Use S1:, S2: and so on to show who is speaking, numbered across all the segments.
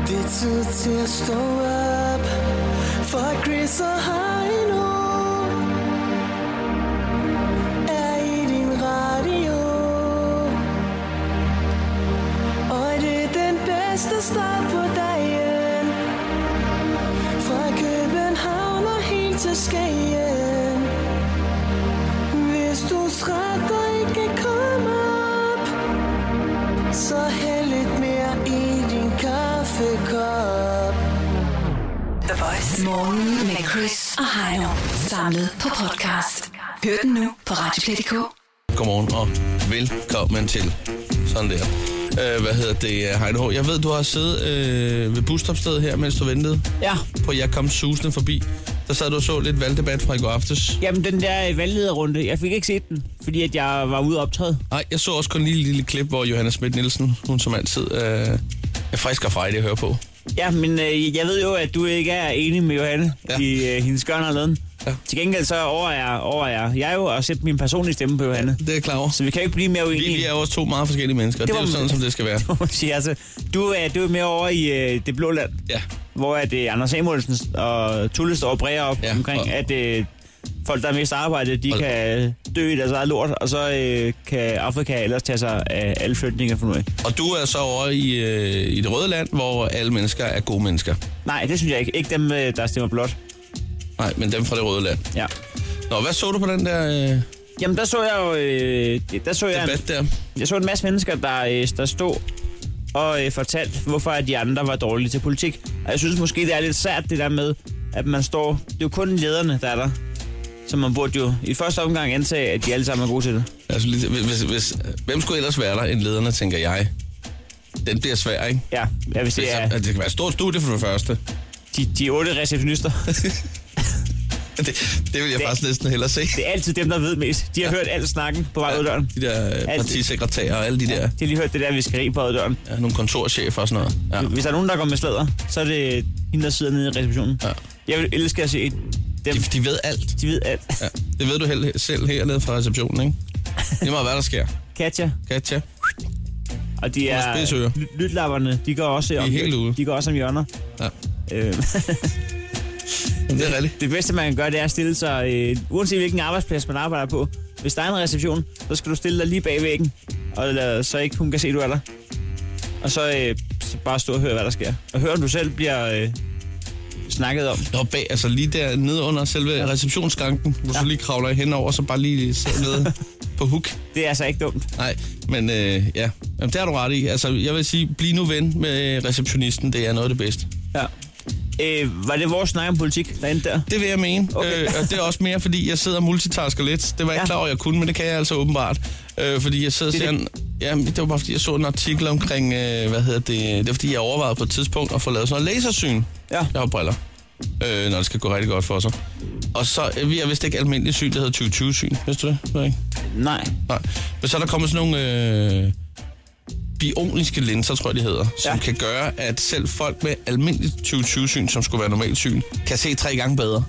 S1: altid til at stå op For Chris og Heino Er i din radio Og det er den bedste start på dagen Fra København og helt til Skagen Hvis du er træt og ikke kan komme op Så hæld lidt mere i din kaffekop
S2: The Voice. Morgen med Chris og Heino. Samlet på podcast. Hør den nu på Radioplay.dk.
S3: Godmorgen og velkommen til. Sådan der. Øh, hvad hedder det, Heino H. Jeg ved, du har siddet øh, ved busstopstedet her, mens du ventede
S4: Ja,
S3: på, at jeg kom susende forbi. Der sad du og så lidt valgdebat fra i går aftes.
S4: jamen den der øh, valglederrunde, jeg fik ikke set den, fordi at jeg var ude optræde.
S3: Nej, jeg så også kun lige et lille klip, hvor Johanna Schmidt Nielsen, hun som altid øh, er frisk og frejdig at høre på.
S4: Ja, men øh, jeg ved jo, at du ikke er enig med Johanne
S3: Ja.
S4: ja. i øh, hendes gørn og leden.
S3: Ja.
S4: Ja. Til gengæld så over jeg, over jeg. Jeg er jo at sætte min personlige stemme på Johanne,
S3: Det er jeg klar over.
S4: så vi kan jo ikke blive mere
S3: Vi,
S4: uenige.
S3: vi er jo også to meget forskellige mennesker, det,
S4: Det
S3: det er jo
S4: var-
S3: sådan, som det skal være.
S4: må man sige. altså, du, er, du er mere over i øh, det blå land,
S3: Ja,
S4: hvor at, øh, Anders Samuelsen og Tulle står og bræger op
S3: Ja,
S4: ja, omkring,
S3: og-
S4: og... at øh, folk, der er mest arbejde, de
S3: Og-
S4: kan dø i deres eget lort, og så øh, kan Afrika ellers tage sig af alle flygtninge for nu af.
S3: og du er så over i, øh, i det røde land, hvor alle mennesker er gode mennesker.
S4: Nej, det synes jeg ikke. Ikke dem, øh, der stemmer blot.
S3: Nej, men dem fra det røde land.
S4: Ja.
S3: Nå, hvad så du på den der øh,
S4: Jamen, der så jeg jo... Øh, der så jeg,
S3: debat
S4: en,
S3: der?
S4: jeg så en masse mennesker, der, øh, der stod og øh, fortalte, hvorfor at de andre var dårlige til politik. Og jeg synes måske, det er lidt sært, det der med, at man står... Det er jo kun lederne, der er der. Så man burde jo i første omgang antage, at de alle sammen er gode til det.
S3: Altså, lidt- hvis, hvis, hvis, hvem skulle ellers være der end lederne, tænker jeg? Den bliver svær, ikke?
S4: Ja, ja hvis det
S3: Det,
S4: er
S3: det kan være et stort studie for det første.
S4: de, de otte receptionister.
S3: Det, det vil jeg det.
S4: Det-
S3: faktisk næsten hellere se.
S4: Det er altid dem, der ved mest. De har hørt al snakken på vej ud af døren.
S3: De der øh,
S4: Altid.
S3: partisekretærer og alle de der,
S4: De har lige hørt det der viskeri på vej ud af døren.
S3: ja, nogle kontorchefer og sådan noget. Ja.
S4: Hvis der er nogen, der går med sladder, så er det hende, der sidder nede i receptionen.
S3: Ja.
S4: Jeg vil elske at se dem.
S3: De, de ved alt.
S4: De ved alt.
S3: Ja. Det ved du hel, selv hernede fra receptionen, ikke? Det er meget, hvad der sker.
S4: Katja,
S3: Katja,
S4: og de
S3: Hun har
S4: er
S3: spidsører.
S4: ly- lytlapperne, de går også om,
S3: helt ude.
S4: de går også om hjørner.
S3: Ja.
S4: Øh,
S3: det er rigtigt.
S4: det bedste, man kan gøre, det er at stille sig, øh, uanset hvilken arbejdsplads, man arbejder på. Hvis der er en reception, så skal du stille dig lige bag væggen, og lad, så ikke hun kan se, du er der. Og så, øh, så bare stå og høre, hvad der sker. Og hør, om du selv bliver øh, snakket om.
S3: Nå, bag, altså lige der nede under selve ja. receptionsskanken, hvor ja.
S4: Ja.
S3: så lige kravler henover, og så bare lige sidder nede på hook.
S4: Det er altså ikke dumt.
S3: Nej, men øh, ja, Jamen, det har du ret i. Altså, jeg vil sige, bliv nu ven med receptionisten, det er noget af det bedste.
S4: Ja. Øh, var det vores snak om politik, der endte der?
S3: Det vil jeg mene, okay.
S4: Okay.
S3: øh, og det er også mere, fordi jeg sidder og multitasker lidt. Det var jeg ikke
S4: Ja.
S3: klar over, jeg kunne, men det kan jeg altså åbenbart. Øh, fordi jeg sidder og
S4: Det
S3: ser
S4: er
S3: en, jamen, det var bare, fordi jeg så en artikel omkring, øh, hvad hedder det, det er fordi, jeg overvejede på et tidspunkt at få lavet sådan noget lasersyn.
S4: Ja.
S3: Jeg har briller, øh, når det skal gå rigtig godt for sig. Og så, øh, vi har vist ikke almindelig syn, det hedder 2020-syn, vidste du det? Ved jeg ikke.
S4: Nej.
S3: Nej. Men så er der kommet sådan nogle øh, bioniske linser, tror jeg de hedder, som ja.
S4: Ja.
S3: kan gøre, at selv folk med almindeligt 2020-syn, som skulle være normalt syn, kan se tre gange bedre.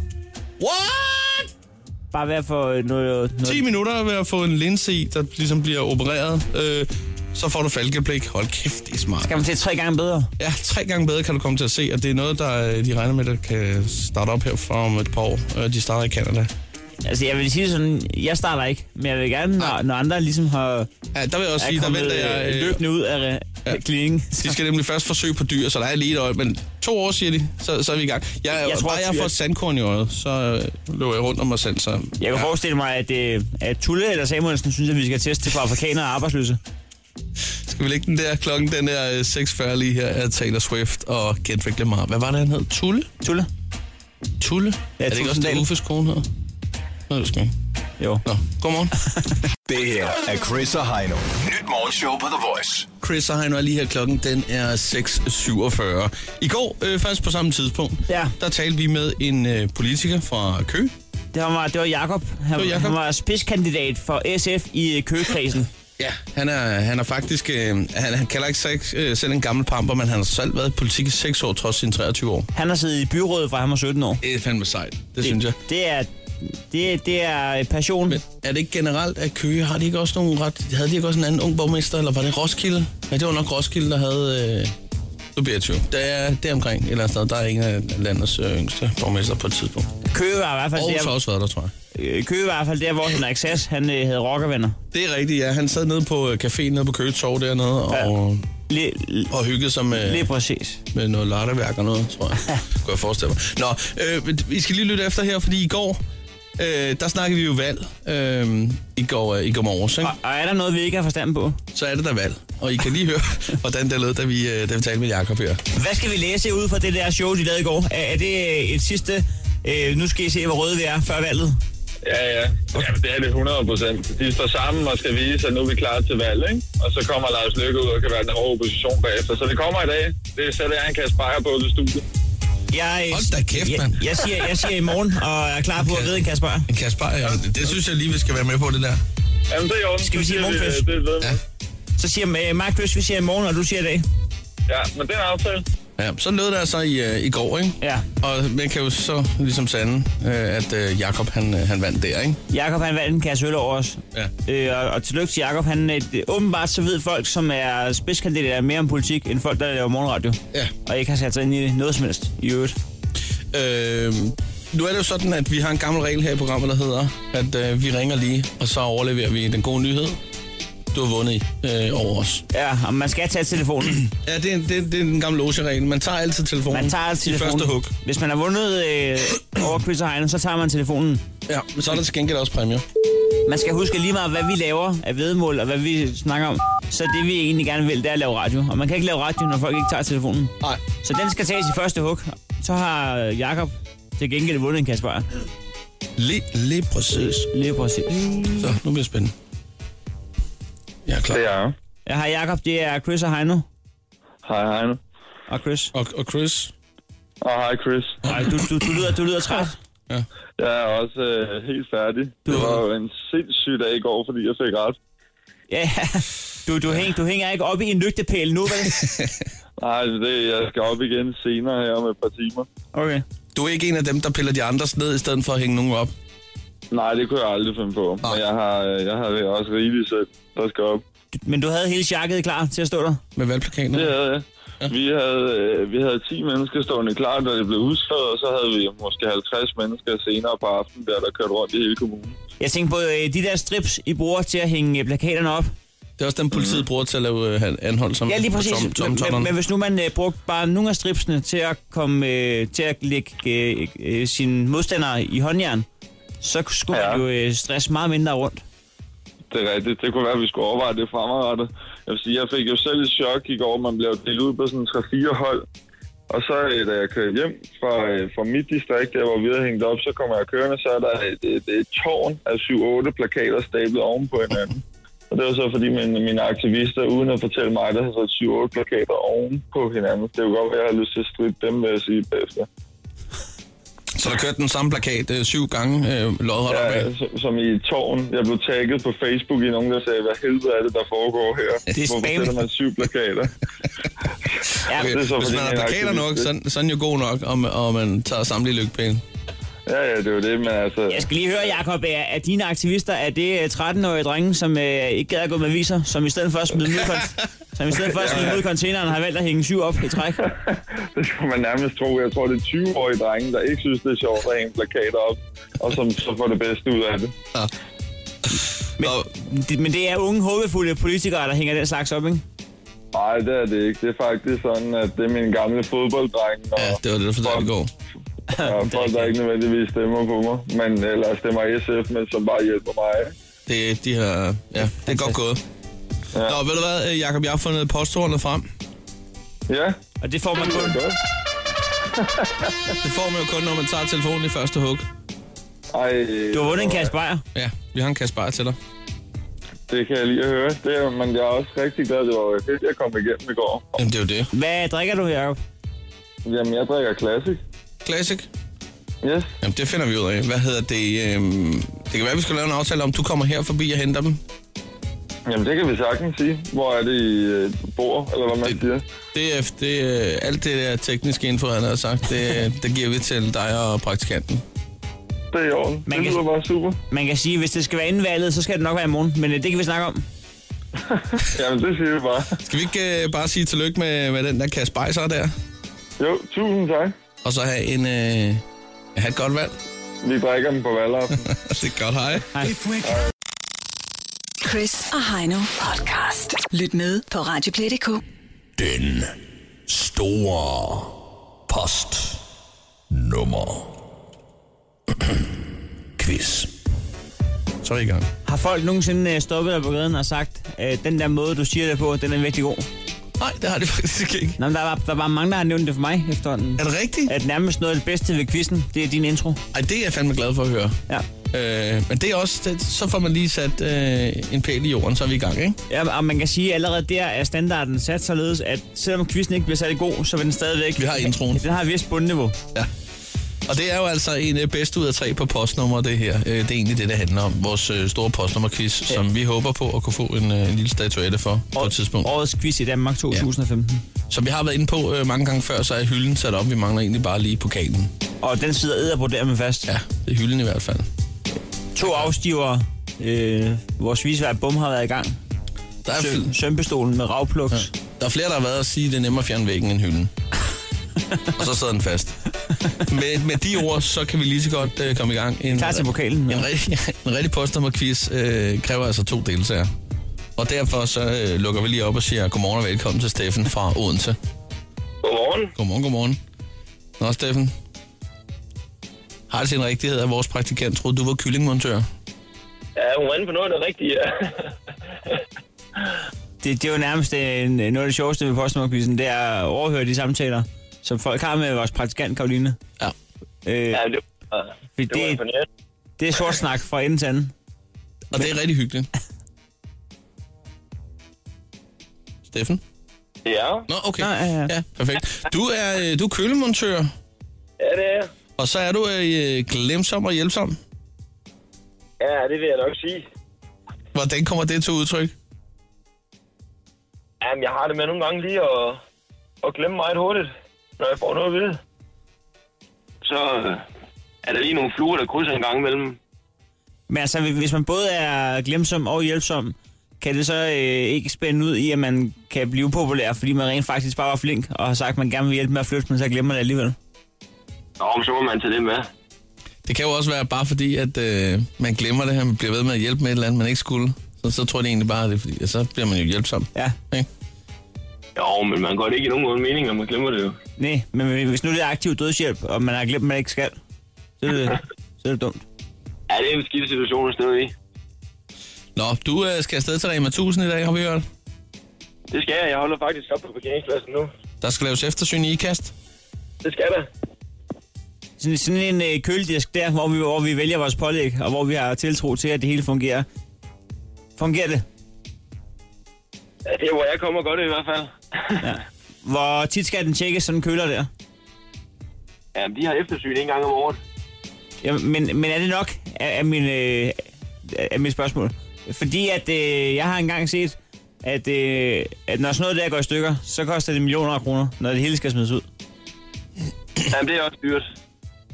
S3: What?
S4: Bare være for øh, noget... noget
S3: 10 minutter ved at få en linse i, der ligesom bliver opereret, øh, så får du falkeblik. Hold kæft, det er smart.
S4: Skal man til tre gange bedre?
S3: Ja, tre gange bedre kan du komme til at se, og det er noget, der øh, de regner med, der kan starte op her fra om et par år. Øh, De starter i Canada.
S4: Altså, jeg vil sige sådan, jeg starter ikke, men jeg vil gerne,
S3: Nej.
S4: når, når andre ligesom har
S3: Ja, der vil jeg også
S4: er
S3: sige, der
S4: kommet
S3: venter jeg...
S4: øh,
S3: øh,
S4: løbende ud af
S3: ja.
S4: ja. klinikken.
S3: De skal nemlig først forsøge på dyr, så der er lige et øje, men to år, siger de, så, så er vi i gang. Jeg, jeg
S4: Jeg
S3: tror,
S4: tror,
S3: bare
S4: at
S3: jeg
S4: dyr-
S3: får et sandkorn i øjet, så øh, løber jeg rundt om mig selv. Så,
S4: Jeg kan ja. forestille mig, at, øh, at Tulle eller Samuelsen synes, at vi skal teste for afrikanere og arbejdsløse.
S3: Skal vi lægge den der klokken, den er øh, 6.40 lige her, af Taylor Swift og Kendrick Lamar. Hvad var det, han hed? Tulle?
S4: Tulle?
S3: Tulle? Ja, er det ikke også det,
S4: Tulsendal.
S3: Uffes kone hedder? Nå, det skal jeg ikke.
S4: Jo.
S3: Nå, godmorgen.
S5: Det her er Chris og Heino. Nyt morgenshow på The Voice.
S3: Chris og Heino er lige her, klokken den er 6.47. I går, øh, faktisk på samme tidspunkt,
S4: Ja.
S3: der talte vi med en øh, politiker fra Køge.
S4: Det var, det var Jakob. Han,
S3: var
S4: var
S3: Jakob.
S4: han var spidskandidat for SF i øh, køkredsen.
S3: Ja, han er, han er faktisk... Øh, han, han kalder ikke sig øh, selv en gammel pamper, men han har selv været i politik i 6 år, trods sine 23 år.
S4: Han har siddet i byrådet fra han var 17 år.
S3: Det er fandme sejt, det, det synes jeg.
S4: Det er, det, det er øh, passion.
S3: Men er det ikke generelt, at Køge har de ikke også nogen ret... Havde de ikke også en anden ung borgmester, eller var det Roskilde? Ja, det var nok Roskilde, der havde... Øh, Du bliver 20. Det er, det er omkring et eller andet sted. Der er ingen af landets øh, yngste borgmester på et tidspunkt.
S4: Køge var i hvert fald
S3: Aarhus har
S4: der,
S3: også været der, tror jeg.
S4: øh, Køge var i hvert fald der hvor Henrik Sass, han øh, havde rockervenner.
S3: Det er rigtigt, ja. Han sad nede på øh, caféen nede på Køge Torv dernede og,
S4: Lige, lige-
S3: og hyggede sig med...
S4: lige præcis.
S3: med noget latterværk og noget, tror jeg. Kunne jeg forestille mig. Nå, øh, vi skal lige lytte efter her, fordi i går, øh, der snakkede vi jo valg øh, i, går, øh, i går morges, ikke?
S4: Og, og er der noget, vi ikke har forstand på?
S3: Så er det der valg. Og I kan lige høre, hvordan det lød, da vi, øh, da vi talte med Jacob her.
S4: Hvad skal vi læse ud fra det der show, de lavede i går? Er, er det øh, et sidste, øh, nu skal I se, hvor røde vi er før valget?
S6: Ja, ja. ja det er det 100 procent. De står sammen og skal vise, at nu er vi klar til valg, ikke? Og så kommer Lars Løkke ud og kan være den hårde opposition bagefter. Så det kommer i dag. Det sætter jeg en kasse bajer på til studiet.
S4: Jeg, øh,
S3: Hold da kæft, mand.
S4: Jeg, jeg, siger, jeg siger i morgen, og er klar på
S3: Okay.
S4: at ride en Kasper.
S3: Men Kasper, øh, det synes jeg lige, vi skal være med på det der.
S6: Jamen, det er jo.
S4: Skal vi sige
S6: det,
S4: morgenfest?
S6: det, det, ved
S3: Ja.
S6: ja.
S4: Så siger øh, Mark Løs, vi siger i morgen, og du siger i dag.
S6: ja, men det er en aftale.
S3: Ja, så lød det altså i, øh, i går, ikke?
S4: Ja.
S3: Og man kan jo så ligesom sande, øh, at øh, Jakob han, øh, han vandt der, ikke?
S4: Jakob han vandt en kasse øl over os.
S3: Ja.
S4: Øh, og, og tillykke til Jakob. Han øh, det- åbenbart så ved folk, som er spidskandidater mere om politik, end folk, der laver morgenradio.
S3: Ja.
S4: Og ikke har sat sig ind i noget som helst i øvrigt.
S3: Øh, nu er det jo sådan, at vi har en gammel regel her i programmet, der hedder, at øh, vi ringer lige, og så overleverer vi den gode nyhed, du har vundet øh, over os.
S4: Ja, og man skal tage telefonen.
S3: Ja, det er, det, det er den gamle logeregel. Man tager altid telefonen
S4: Man tager telefonen.
S3: i første hug.
S4: Hvis man har vundet øh, over Chris og Heine, så tager man telefonen.
S3: Ja, men så er der til gengæld også præmier.
S4: Man skal huske lige meget, hvad vi laver af vedmål og hvad vi snakker om. Så det vi egentlig gerne vil, det er at lave radio. Og man kan ikke lave radio, når folk ikke tager telefonen.
S3: Nej.
S4: Så den skal tages i første hug. Så har øh, Jakob til gengæld vundet en kasse bajer.
S3: Lige, lige præcis.
S4: Lige præcis.
S3: Så, nu bliver det spændende. Jeg er klar.
S6: Det er jeg.
S4: Jeg har Jakob, det er Chris og Heino.
S6: Hej, hej nu.
S4: Og Chris.
S3: Og, og Chris?
S6: Og hej, Chris.
S4: Ej, du, du, du, lyder, du lyder træt.
S6: Jeg er også øh, helt færdig. Det var jo en sindssyg dag i går, fordi jeg fik ret.
S4: Ja, du, du, hæng, du hænger ikke op i en lygtepæl nu, vel?
S6: Nej, det, jeg skal op igen senere her om et par timer.
S4: Okay.
S3: Du er ikke en af dem, der piller de andres ned, i stedet for at hænge nogen op.
S6: Nej, det kunne jeg aldrig finde på. Men jeg har, øh, jeg har også rigeligt selv, der skal op.
S4: Men du havde hele jakket klar til at stå der?
S3: Med valgplakaten.
S6: Det havde jeg. Vi havde, øh, vi havde 10 mennesker stående klar, da det blev udskrevet, og så havde vi måske 50 mennesker senere på aftenen, der der kørte rundt i hele kommunen.
S4: Jeg tænkte på øh, de der strips, I bruger til at hænge øh, plakaterne op.
S3: Det er også den, politiet bruger til at lave øh, anhold som
S4: Ja, lige præcis.
S3: Tom, tom,
S4: men, men,
S3: tommeren.
S4: men hvis nu man øh, brugte bare nogle af stripsene til at komme øh, til at lægge øh, øh, sine modstandere i håndjern, så skulle ja.
S6: Ja.
S4: man jo øh, stresse meget mindre rundt.
S6: Det er rigtigt. Det kunne være, at vi skulle overveje det fremadrettet. Jeg vil sige, jeg fik jo selv et chok i går. Man blev delt ud på sådan 3-4 hold. Og så, øh, da jeg kørte hjem fra, øh, fra mit distrikt, der hvor vi havde hængt op, så kommer jeg kørende, så er der et, et, et tårn af 7-8 plakater stablet oven på hinanden. Og det var så, fordi min, mine aktivister, uden at fortælle mig, der havde sat 7-8 plakater oven på hinanden. Det kunne godt være, at jeg havde lyst til at stride dem, vil jeg sige, bagefter.
S3: Så der kørte den samme plakat øh, syv gange øh, lodret ja,
S6: Ja,
S3: opad.
S6: som, som i et tårn. Jeg blev tagget på Facebook i nogen, der sagde, hvad helvede er det, der foregår her?
S4: Det er
S6: Hvorfor
S4: spam.
S6: sætter man syv plakater?
S4: Ja,
S3: Okay.
S6: det er så
S3: Hvis
S6: fordi,
S3: man har
S6: jeg er
S3: plakater nok,
S6: aktivist,
S3: så, så er den jo god nok, og, ma- og man tager samtlige lygtepæle.
S6: Ja, ja, det er jo det, men altså...
S4: Jeg skal lige høre, Jacob, er, er dine aktivister, er det øh, 13-årige drenge, som øh, ikke gad at gå med viser, som i stedet for at smide dem ud, i kon- som i stedet for at smide dem ud i containeren, har valgt at hænge syv op i træk?
S6: Det skulle man nærmest tro. Jeg tror, det er 20-årige drenge, der ikke synes, det er sjovt at hænge plakater op, og som så får det bedste ud af det.
S3: Men... Og,
S4: Det- Men det er unge, håbefulde politikere, der hænger den slags op, ikke?
S6: Nej, det er det ikke. Det er faktisk sådan, at det er mine gamle fodbolddrenge, og
S3: ja, det var det, der fortalte i går.
S6: ja, folk, der ikke nødvendigvis stemmer på mig, men øh, eller stemmer SF, men som bare hjælper mig.
S3: Det, de her, ja, det er godt gået. Ja. Nå, ved du hvad, øh, Jacob, jeg har fundet posthornet frem.
S6: Ja,
S4: Og det får man
S6: det
S4: kun.
S6: er godt.
S3: Det får man jo kun, når man tager telefonen i første hug.
S6: Ej,
S4: Du har vundet en kasse bajer.
S3: Ja, vi har en kasse bajer til dig.
S6: Det kan jeg lige høre. Det er, men jeg er også rigtig glad, det var jo fedt, jeg kom igennem i går.
S3: Jamen, det er jo det.
S4: Hvad drikker du, Jacob?
S6: Jamen, jeg drikker classic.
S3: Classic.
S6: Yes.
S3: Jamen, det finder vi ud af. Hvad hedder det? Øhm, det kan være, vi skal lave en aftale om, du kommer her forbi og henter dem.
S6: Jamen, det kan vi sagtens sige. Hvor er det, I øh, bor, eller hvad man
S3: Det-
S6: siger?
S3: Det, er- det, er- alt det der tekniske info, han har sagt, det, det giver vi til dig og praktikanten.
S6: Det er i orden.
S4: Man
S6: det
S4: kan-
S6: lyder bare super.
S4: Man kan sige, at hvis det skal være inden valget, så skal det nok være i morgen. Men øh, det kan vi snakke om.
S6: Jamen, det siger vi bare.
S3: Skal vi ikke øh, bare sige tillykke med, med den der Kasper Beiser der?
S6: Jo, tusind tak.
S3: Og så have en... Øh, have et godt valg.
S6: Vi drikker dem på valgaften.
S3: det er godt, hej.
S2: Chris og Heino podcast. Lyt med på Radioplay.dk.
S5: Den store post nummer quiz.
S3: Så er vi i gang.
S4: Har folk nogensinde øh, stoppet dig på gaden og sagt, øh, den der måde, du siger det på, den er virkelig god?
S3: Nej, det har det faktisk ikke.
S4: Nå, men der var, der var mange, der har nævnt det for mig efterhånden.
S3: Er det rigtigt?
S4: At nærmest noget af det bedste ved quizzen, det er din intro.
S3: Ej, det er jeg fandme glad for at høre.
S4: Ja.
S3: Øh, men det er også, det, så får man lige sat øh, en pæl i jorden, så er vi i gang, ikke?
S4: ja. og man kan sige, at allerede der er standarden sat således, at selvom quizzen ikke bliver særlig god, så vil den stadigvæk...
S3: Vi har introen.
S4: Den har et vist bundniveau.
S3: Ja. Og det er jo altså en øh, bedst ud af tre på postnummer, det her. Øh, Det er egentlig det, det handler om. Vores øh, store postnummerquiz, ja. som vi håber på at kunne få en, øh, en lille statuette for på et tidspunkt.
S4: Årets quiz i Danmark 2015.
S3: Som vi har været inde på øh, mange gange før, så er hylden sat op. Vi mangler egentlig bare lige pokalen.
S4: Og den sidder æder på der med fast.
S3: Ja, det er hylden i hvert fald.
S4: To afstiver. Øh, vores visvær bum har været i gang.
S3: Der er,
S4: Søm, sømpestolen med ravpluks. Ja.
S3: der er flere, der har været at sige, at det er nemmere at fjerne væggen end hylden. Og så sidder den fast. Med, med de ord, så kan vi lige så godt øh, komme i gang. En,
S4: Klar til pokalen.
S3: En
S4: Ja.
S3: rigtig, en rigtig postnummerquiz øh, kræver altså to deltagere. Og derfor så øh, lukker vi lige op og siger godmorgen og velkommen til Steffen fra Odense.
S6: Godmorgen.
S3: Godmorgen, godmorgen. Nå, Steffen. Har det sin rigtighed, at vores praktikant troede, du var kyllingmontør?
S7: Ja, hun var inde på noget af det rigtige. ja.
S4: Det, det er jo nærmest øh, noget af det sjoveste ved postnummerquizzen, det er at overhøre de samtaler, som folk har med vores praktikant Karoline.
S3: Ja.
S4: Øh,
S7: ja, det, var,
S4: Fordi
S7: det var
S4: det, det,
S7: imponerende.
S4: det er sort snak fra ende til anden.
S3: Og det er rigtig hyggeligt. Steffen?
S7: Ja,
S3: Nå, okay.
S4: Nå, ja, ja.
S3: ja perfekt. Du er, øh, du er kølemontør,
S7: ja, det er jeg.
S3: og så er du øh, glemsom og hjælpsom.
S7: Ja, det vil jeg nok sige.
S3: Hvordan kommer det til udtryk?
S7: Jamen, jeg har det med nogle gange lige at, at glemme meget hurtigt, når jeg får noget at vide. Så øh, er der lige nogle fluer, der krydser en gang imellem.
S4: Men altså, hvis- hvis man både er glemsom og hjælpsom, kan det så øh, ikke spænde ud i, at man kan blive populær, fordi man rent faktisk bare var flink og har sagt, at man gerne vil hjælpe med at flytte, men så glemmer man det alligevel.
S7: Nå, men så må man tage det med.
S3: Det kan jo også være bare fordi, at øh, man glemmer det her, man bliver ved med at hjælpe med et eller andet, man ikke skulle. Så, så tror jeg det egentlig bare, at det er fordi, at så bliver man jo hjælpsom.
S4: Ja,
S3: Ikke?
S7: Jo, men man går det ikke i nogen måde mening, når man glemmer det jo.
S4: nej, men hvis nu det er aktiv dødshjælp, og man har glemt, at man ikke skal, så er det, så er det dumt.
S7: Ja, det er en skidt situation at stå i.
S3: Nå, du øh, skal afsted til Rema 1000 i dag, har vi hørt.
S7: Det skal jeg. Jeg holder faktisk op på parkeringspladsen nu.
S3: Der skal laves eftersyn i ikast.
S7: Det skal der.
S4: Sådan, sådan en øh, køledisk der, hvor vi, hvor vi vælger vores pålæg, og hvor vi har tiltro til, at det hele fungerer. Fungerer det?
S7: Ja, det er, hvor jeg kommer godt i hvert fald.
S4: Hvor tit skal den tjekkes, sådan en køler der?
S7: Ja, de har eftersyn en gang om året.
S4: Ja, men, men er det nok af, af, min, øh, af mit spørgsmål? Fordi at øh, jeg har engang set, at, øh, at når sådan noget der går i stykker, så koster det millioner af kroner, når det hele skal smides ud.
S7: Jamen, det er også dyrt.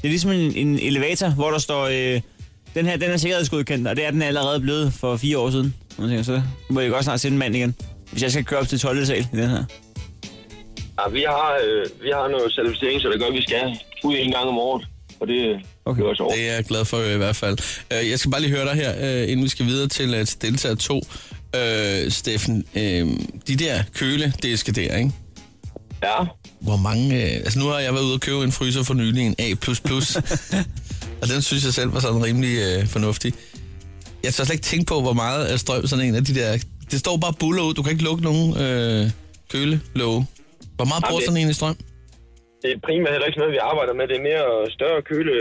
S4: Det er ligesom en, en elevator, hvor der står, øh, den her den er sikkerhedsgodkendt, og det er den allerede blevet for fire år siden. Og man tænker, så må jeg godt snart sende en mand igen, hvis jeg skal køre op til 12. sal i den her.
S7: Ja, vi har, øh, vi har noget certificering, så det gør, at vi skal ud en gang om året. Og det,
S4: Okay.
S7: okay. det er også over.
S3: Det er jeg glad for øh, i hvert fald. Øh, jeg skal bare lige høre dig her, øh, inden vi skal videre til, øh, til deltager 2. Øh, Steffen, øh, de der kølediske der, ikke?
S7: Ja.
S3: Hvor mange... Øh, altså nu har jeg været ude og købe en fryser for nylig, en A++. og den synes jeg selv var sådan rimelig øh, fornuftig. Jeg tør slet ikke tænke på, hvor meget øh, strøm sådan en af de der... Det står bare buller ud. Du kan ikke lukke nogen øh, kølelåge. Hvor meget bruger
S7: det-
S3: sådan en i strøm?
S7: Det er primært heller ikke noget, vi arbejder med. Det er mere større køle.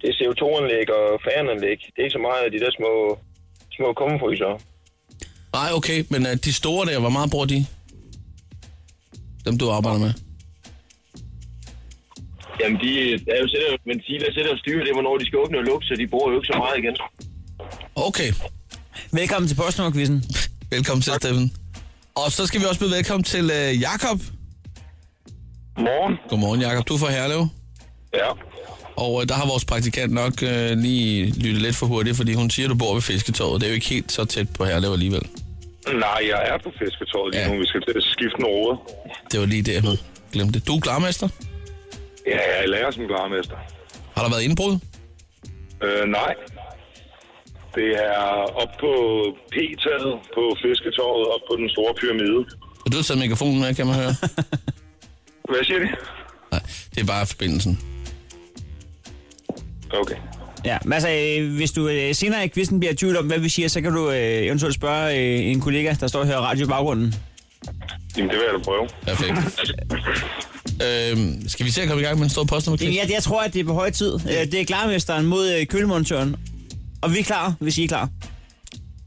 S7: Det er CO2-anlæg og fananlæg. Det er ikke så meget af de der små, små kummefryser.
S3: Nej, okay, men øh, de store der, hvor meget bruger de? Dem, du arbejder med.
S7: Jamen, de er jo sætter, ventiler sætter og styrer det, hvornår de skal åbne og lukke, så de bruger jo ikke så meget igen.
S3: Okay,
S4: Velkommen til postnummerquizzen.
S3: velkommen til, Steffen. Og så skal vi også byde velkommen til øh, Jakob.
S7: Morgen.
S3: Godmorgen, Jakob. Du er fra Herlev.
S7: Ja.
S3: Og øh, der har vores praktikant nok øh, lige lyttet lidt for hurtigt, fordi hun siger, at du bor ved fisketåret. Det er jo ikke helt så tæt på Herlev alligevel.
S6: Nej, jeg er på fisketorvet lige
S3: Ja.
S6: ja. nu. Vi skal til at skifte nogle råder.
S3: Det var lige det, jeg havde glemt det. Du er glarmester.
S6: Ja, jeg lærer som glarmester.
S3: Har der været indbrud?
S6: Øh, nej. Det er op på P-taget på fisketorvet, op på den store pyramide.
S3: Og du har taget megafonen med, kan man høre.
S6: Hvad siger de?
S3: Nej, det er bare forbindelsen.
S6: Okay.
S4: Ja, men altså, øh, hvis du øh, senere i quizzen bliver i tvivl om, hvad vi siger, så kan du øh, eventuelt spørge øh, en kollega, der står og hører radio i baggrunden.
S6: Jamen, det vil jeg da prøve.
S3: Perfekt. øhm, skal vi se at komme i gang med en stor postnummer?
S4: Det, jeg, jeg tror, at det er på høj tid. Øh, Det er klarmesteren mod øh, kølemontøren. Og vi er klar, hvis I er klar.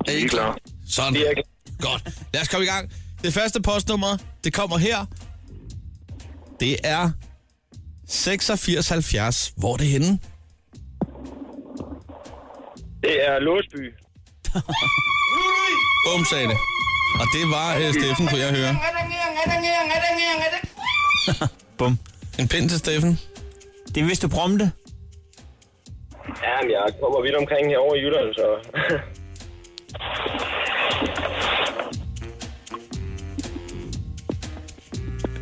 S3: Er I klar? Sådan. Godt. Lad os komme i gang. Det første postnummer, det kommer her. Det er 8670. Hvor er det henne?
S7: Det er Låsby.
S3: Bum, sagde det. Og det var øh, Steffen, kunne jeg høre.
S4: Bum.
S3: En pind til Steffen.
S4: Det er hvis du prompte.
S7: Ja, men jeg kommer vidt omkring herovre i Jylland, så...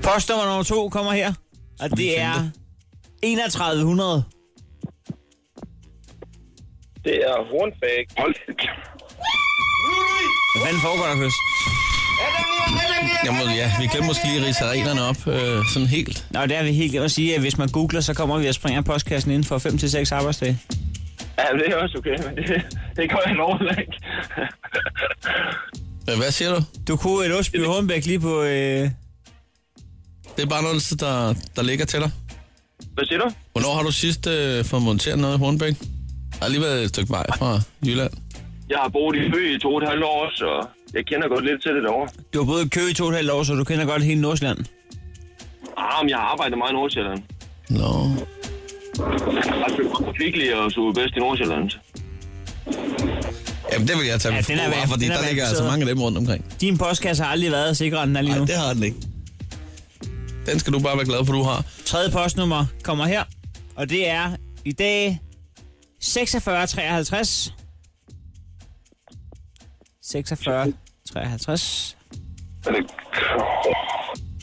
S4: Postnummer nummer to kommer her. Og det er 3100.
S7: det er Hornbæk.
S6: Hold det.
S4: Hvad fanden foregår der, Chris?
S3: Jeg må, ja, vi glemte måske lige at rise arenerne op øh, sådan helt.
S4: Nå, der er vi helt glemt at sige, at hvis man googler, så kommer vi og springer postkassen inden for 5-6 arbejdsdage.
S7: Ja, men det er også okay, men det, det går jeg normalt ikke.
S3: Øh, Hvad siger du?
S4: Du kunne et Osby Hornbæk lige på... Øh...
S3: Det er bare noget, der, der ligger til dig.
S7: Hvad siger du?
S3: Hvornår har du sidst øh, fået monteret noget i Hornbæk? Der har lige været et stykke vej fra Jylland.
S7: Jeg har boet i Hø i to og et halvt år, så jeg kender godt lidt til det derovre.
S4: Du har boet i kø i to og et halvt år, så du kender godt hele Nordsjælland.
S7: Ah, men jeg har arbejdet meget i Nordsjælland.
S3: Nå.
S7: Jeg har købt virkelig og så bedst i Nordsjælland.
S3: Jamen, det vil jeg tage
S4: Ja,
S3: med
S4: den er
S3: for gode
S4: værd.
S3: varer, fordi
S4: Den er
S3: der
S4: værd
S3: ligger altså
S4: placeret.
S3: mange af dem rundt omkring.
S4: Din postkasse har aldrig været sikrere, end den er lige nu.
S3: Nej, det har den ikke. Den skal du bare være glad for, du har.
S4: Tredje postnummer kommer her, og det er i dag 4653. 4653.
S6: Er det...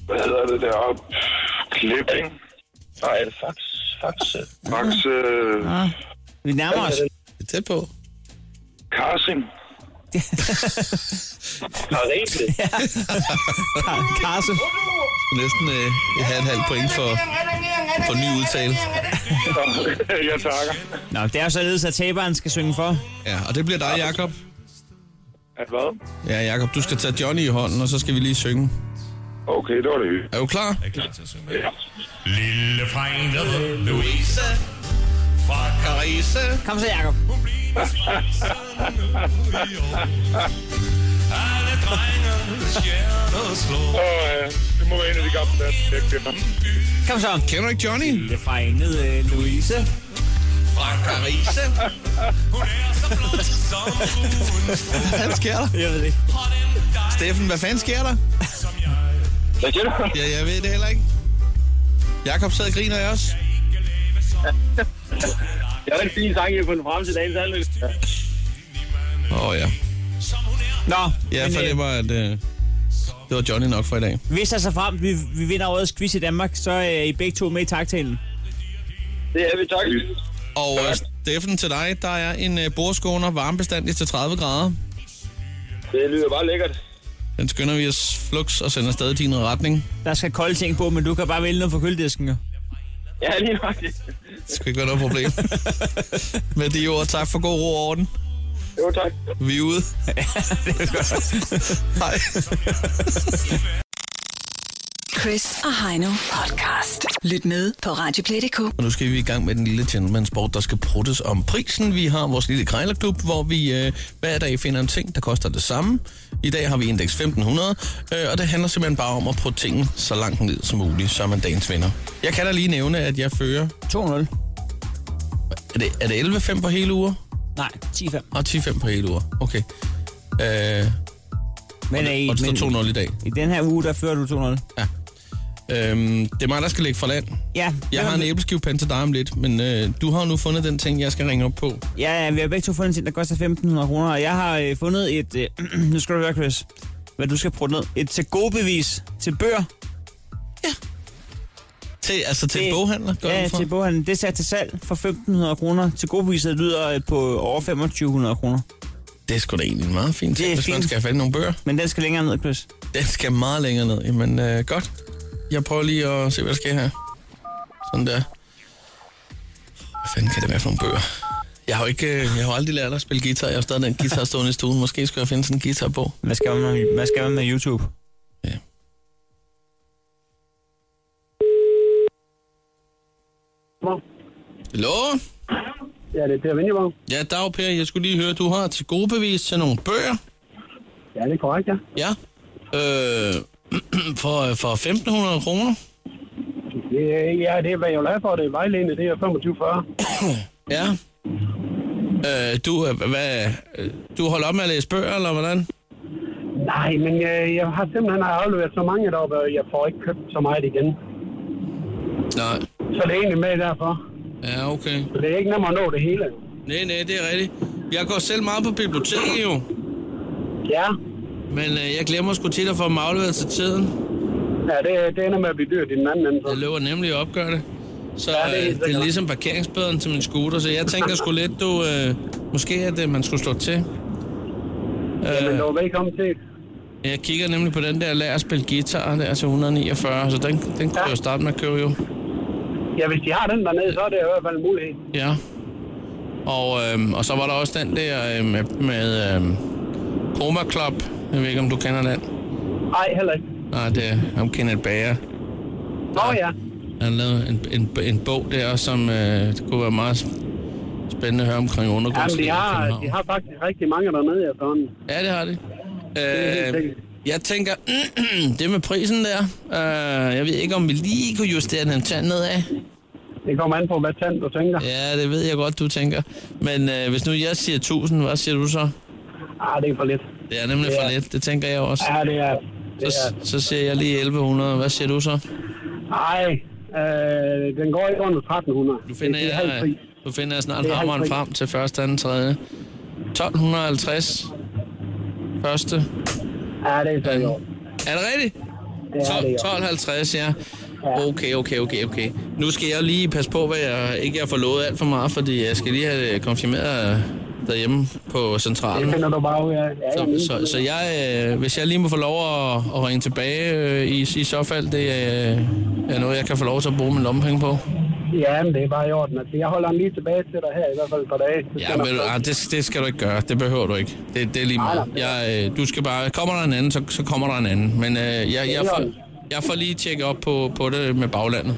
S6: Hvad hedder det deroppe? Klip, ikke?
S7: Nej, er det fax? Fax? øh,
S6: Max øh,
S4: Ah, vi nærmer os.
S3: Det er tæt på.
S6: Karsing.
S7: Har rigtigt.
S4: Kar- Karse.
S3: Næsten øh, et halvt halvt point for, for ny udtale.
S6: jeg takker.
S4: Nå, det er jo således, at taberen skal synge for.
S3: Ja, og det bliver dig, Jakob.
S6: At hvad?
S3: Ja, Jakob, du skal tage Johnny i hånden, og så skal vi lige synge.
S6: Okay, det var det hyggeligt.
S3: Er du klar?
S6: Ja.
S8: Lille fregne Louise fra Carise.
S4: Kom så, Jakob.
S8: Hun bliver sådan Alle drengens hjerter slår.
S6: Åh, ja. Det må være en af de gamle danske jeg kender.
S4: Kom så.
S3: Kender du ikke Johnny?
S4: Det er fra enget, øh, Louise.
S3: Fra Carise.
S8: Hun er så blød som hun
S3: Hvad fanden sker der?
S4: Jeg ved det ikke.
S8: Har den dig
S3: Steffen, hvad fanden sker der?
S8: som jeg
S7: Hvad siger du?
S3: Ja, jeg ved det heller ikke. Jakob sad og griner jeg også.
S8: Ikke leve som
S7: Jeg har en fin sang, jeg har fundet frem til dagens anlæg.
S3: Åh oh, ja.
S8: Som hun er
S4: Nå,
S3: Jeg
S4: men, øh,
S3: fornemmer, at øh, det var Johnny nok for i dag.
S4: hvis der så frem, vi, vi vinder årets quiz i Danmark, så øh, er I begge to med i taktalen.
S7: Det er vi, tak.
S3: Og øh, Steffen, til dig, der er en øh, bordskåner varmebestandig til 30 grader.
S7: Det lyder bare lækkert.
S3: Den skynder vi os flux og sender stadig din retning.
S4: Der skal kolde ting på, men du kan bare vælge noget fra køledisken. jo.
S7: Ja, lige nok det.
S3: Det skal ikke være noget problem. Med de ord, tak for god ro og orden.
S7: Jo, tak.
S3: Vi er ude. Hej.
S2: Chris og Heino podcast. Lyt med på Radioplay.dk.
S3: Og nu skal vi i gang med den lille gentleman-sport, der skal pruttes om prisen. Vi har vores lille krejlerklub, hvor vi øh, hver dag finder en ting, der koster det samme. I dag har vi indeks 1500, øh, og det handler simpelthen bare om at prutte tingen så langt ned som muligt, så er man dagens vinder. Jeg kan da lige nævne, at jeg fører...
S4: 2-0.
S3: Er det, er det 11,5 på hele uger?
S4: Nej, 10-5.
S3: Og 10,5 på hele uger. Okay. Øh,
S4: Men,
S3: og det
S4: øh,
S3: står
S4: men
S3: 2-0 i dag.
S4: i den her uge, der fører du 2-0.
S3: Ja. Øhm, det er mig, der skal lægge for land.
S4: Ja,
S3: Jeg har en æbleskivepande til dig om lidt, men øh, du har jo nu fundet den ting, jeg skal ringe op på.
S4: Ja, ja, vi har begge to fundet en ting, der koster 1.500 kroner, og jeg har øh, fundet et, øh, nu skal du høre, Chris, hvad du skal prøve ned, et til gode bevis til bøger.
S3: Til, altså til
S4: Det-
S3: det, boghandler, går
S4: Ja,
S3: jeg ud fra.
S4: til boghandlen. Det er sat til salg for 1.500 kroner. Til gode beviset lyder øh, på over 2.500 kroner.
S3: Det er sgu da egentlig en meget fint
S4: Det
S3: ting,
S4: er
S3: hvis man
S4: fint.
S3: skal have fat i nogle bøger.
S4: Men den skal længere ned, Chris.
S3: Den skal meget længere ned. Jamen, øh, godt. Jeg prøver lige at se, hvad der sker her. Sådan der. Hvad fanden kan det være for nogle bøger? Jeg har jo ikke, øh, jeg har aldrig lært at spille guitar. Jeg har stadig den guitar stående i stuen. Måske skulle jeg finde sådan en guitar på.
S4: Hvad skal man med, hvad skal man med YouTube?
S3: Ja. Hallo?
S9: Ja, det er Per Vinjevang.
S3: Ja, dag Per, jeg skulle lige høre, du har til gode bevis til nogle bøger.
S9: Ja, det er korrekt, ja.
S3: Ja. Øh, for, for 1.500 kroner.
S9: Det, er- Øh, ja, det er, hvad jeg vil have for det. Vejledende, det er 2540.
S3: Ja. Øh, du, øh, hvad, øh, du holder op med at læse bøger, eller hvordan?
S9: Nej, men øh, jeg har simpelthen har afleveret så mange deroppe, og jeg får ikke købt så meget igen.
S3: Nej.
S9: Så det er egentlig med derfor.
S3: Ja, okay.
S9: Så det er ikke nemt at nå det hele.
S3: Nej, nej, det er rigtigt. Jeg går selv meget på biblioteket jo,
S9: Ja,
S3: men øh, jeg glemmer sgu tit at få dem afleveret til tiden.
S9: ja det, det ender med at blive dyrt i den anden ende.
S3: Jeg
S9: Så.
S3: løber nemlig at opgøre det. Så
S9: Ja, det er
S3: øh,
S9: helt
S3: det er
S9: sikkert.
S3: ligesom parkeringsbøderen til min scooter, så jeg tænker sgu lidt, du, øh, måske at øh, man skulle slå til.
S9: Men
S3: Øh,
S9: du er velkommen til.
S3: jeg kigger nemlig på den der lær at spille guitar der til 149, så den, den kunne jeg jo starte med at købe jo.
S9: Ja, hvis de har den dernede, så er det i hvert fald en mulighed.
S3: Ja. Og, øhm, og så var der også den der øh, med, med øhm, Chroma Club. Jeg ved ikke, om du kender den.
S9: Nej, heller ikke.
S3: Nej, det er ham Kenneth Bager.
S9: Nå ja.
S3: Han lavede en, en, en bog der, som øh, det kunne være meget spændende at høre omkring
S9: Jamen,
S3: undergrundslivet
S9: de
S3: i
S9: har,
S3: København.
S9: de har faktisk rigtig mange dernede efterhånden.
S3: Ja, det har det.
S9: er helt
S3: Øh,
S9: sikkert.
S3: jeg tænker, det med prisen der, øh, jeg ved ikke, om vi lige kunne justere den en tand nedad.
S9: Det kommer an på, hvad tand du tænker.
S3: Ja, det ved jeg godt, du tænker. Men øh, hvis nu jeg siger 1000, hvad siger du så?
S9: Ah, det er for lidt.
S3: Det er nemlig for lidt, det tænker jeg også.
S9: Ja, det er... Det er
S3: Så, så siger jeg lige 1100. Hvad siger du så?
S9: Nej, øh, den går ikke under 1300.
S3: Nu finder
S9: det, det er halv
S3: jeg,
S9: pris.
S3: nu finder jeg snart
S9: Det er halv
S3: hammeren
S9: pris.
S3: frem til første, anden, tredje. 1250. Første.
S9: Ja, det er så i år.
S3: Er det rigtigt?
S9: Det er det
S3: 12,
S9: i år.
S3: 1250, ja. Okay, okay, okay, okay. Nu skal jeg lige passe på, hvad jeg ikke har forlovet alt for meget, fordi jeg skal lige have det konfirmeret derhjemme på
S9: Det
S3: centralen.
S9: finder du bare ud af. Ja, jamen,
S3: Så, så, så jeg, øh, hvis jeg lige må få lov at, at ringe tilbage øh, i, i så fald, det øh, er noget, jeg kan få lov til at bruge min lommepenge på.
S9: ja, men det er bare i orden. Altså, jeg holder ham lige tilbage til dig her, i hvert fald et par dage. Så
S3: Ja,
S9: skal
S3: men
S9: nok-
S3: ah, det, det skal du ikke gøre. Det behøver du ikke. Det, det er lige meget. Jeg, øh, du skal bare... Kommer der en anden, så, så kommer der en anden. Men øh, jeg, jeg, får, jeg får lige tjekke op på, på det med baglandet.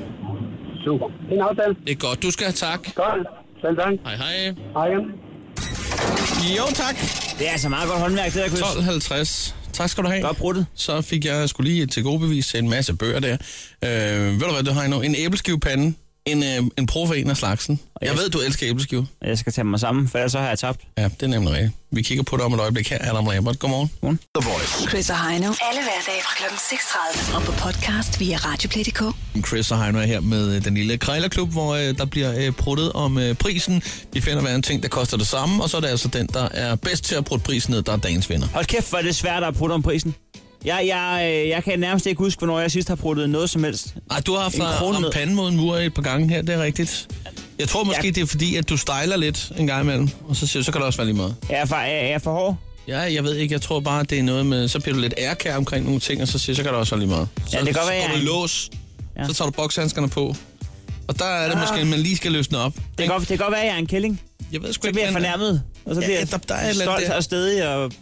S9: Super. Det er en aftale.
S3: Det er godt. Du skal have tak.
S9: Godt. Selv tak.
S3: Hej, hej.
S9: Hej igen.
S3: Jo, tak.
S4: Det er altså meget godt håndværk, det der, Chris.
S3: 12.50. Tak skal du have.
S4: Godt bruttet.
S3: Så fik jeg skulle lige til gode bevis en masse bøger der. Øh, ved du hvad, du har endnu? En æbleskivepande. En, øh, en pro for en af slagsen. Jeg ved, du elsker æbleskive.
S4: Og Jeg skal tage mig sammen, for ellers så har jeg tabt.
S3: Ja, det er nemlig rigtigt. Vi kigger på det om et øjeblik her. Adam Lambert, godmorgen.
S5: The Voice.
S2: Chris og Heino. Alle hverdage fra kl. 6.30. Og på podcast via Radioplay.dk.
S3: Chris og Heino er her med øh, den lille krejlerklub, hvor øh, der bliver øh, pruttet om øh, prisen. Vi finder hver en ting, der koster det samme, og så er det altså den, der er bedst til at prutte prisen ned, der er dagens vinder.
S4: Hold kæft, hvor er det svært at prutte om prisen. Jeg, jeg, øh, jeg kan nærmest ikke huske, hvornår jeg sidst har pruttet noget som helst.
S3: Ej, du har haft
S4: En krone
S3: en
S4: ned.
S3: pande mod en mur et par gange her, det er rigtigt. Jeg tror måske,
S4: Ja.
S3: ja. det er fordi, at du stejler lidt en gang imellem, og så, siger du, så kan det også være lige meget.
S4: Er jeg for, er, er jeg for hård?
S3: Ja, jeg ved ikke, jeg tror bare, at det er noget med, så bliver du lidt ærkær omkring nogle ting, og så siger du, så kan det også være lige meget. Så,
S4: Ja, det kan godt
S3: så
S4: være,
S3: går
S4: jeg
S3: du i
S4: er-
S3: lås,
S4: Ja.
S3: ja. Ah. så tager du bokshandskerne på, og der er det måske, at man lige skal løsne op.
S4: Det kan, godt, det kan godt være, at jeg er en kælling.
S3: Jeg ved sgu
S4: Så
S3: ikke,
S4: bliver jeg
S3: hvordan det er.
S4: fornærmet, og så
S3: Ja,
S4: bliver
S3: ja,
S4: jeg
S3: der- der er et eller andet
S4: stolt
S3: der.
S4: og stedig. Og,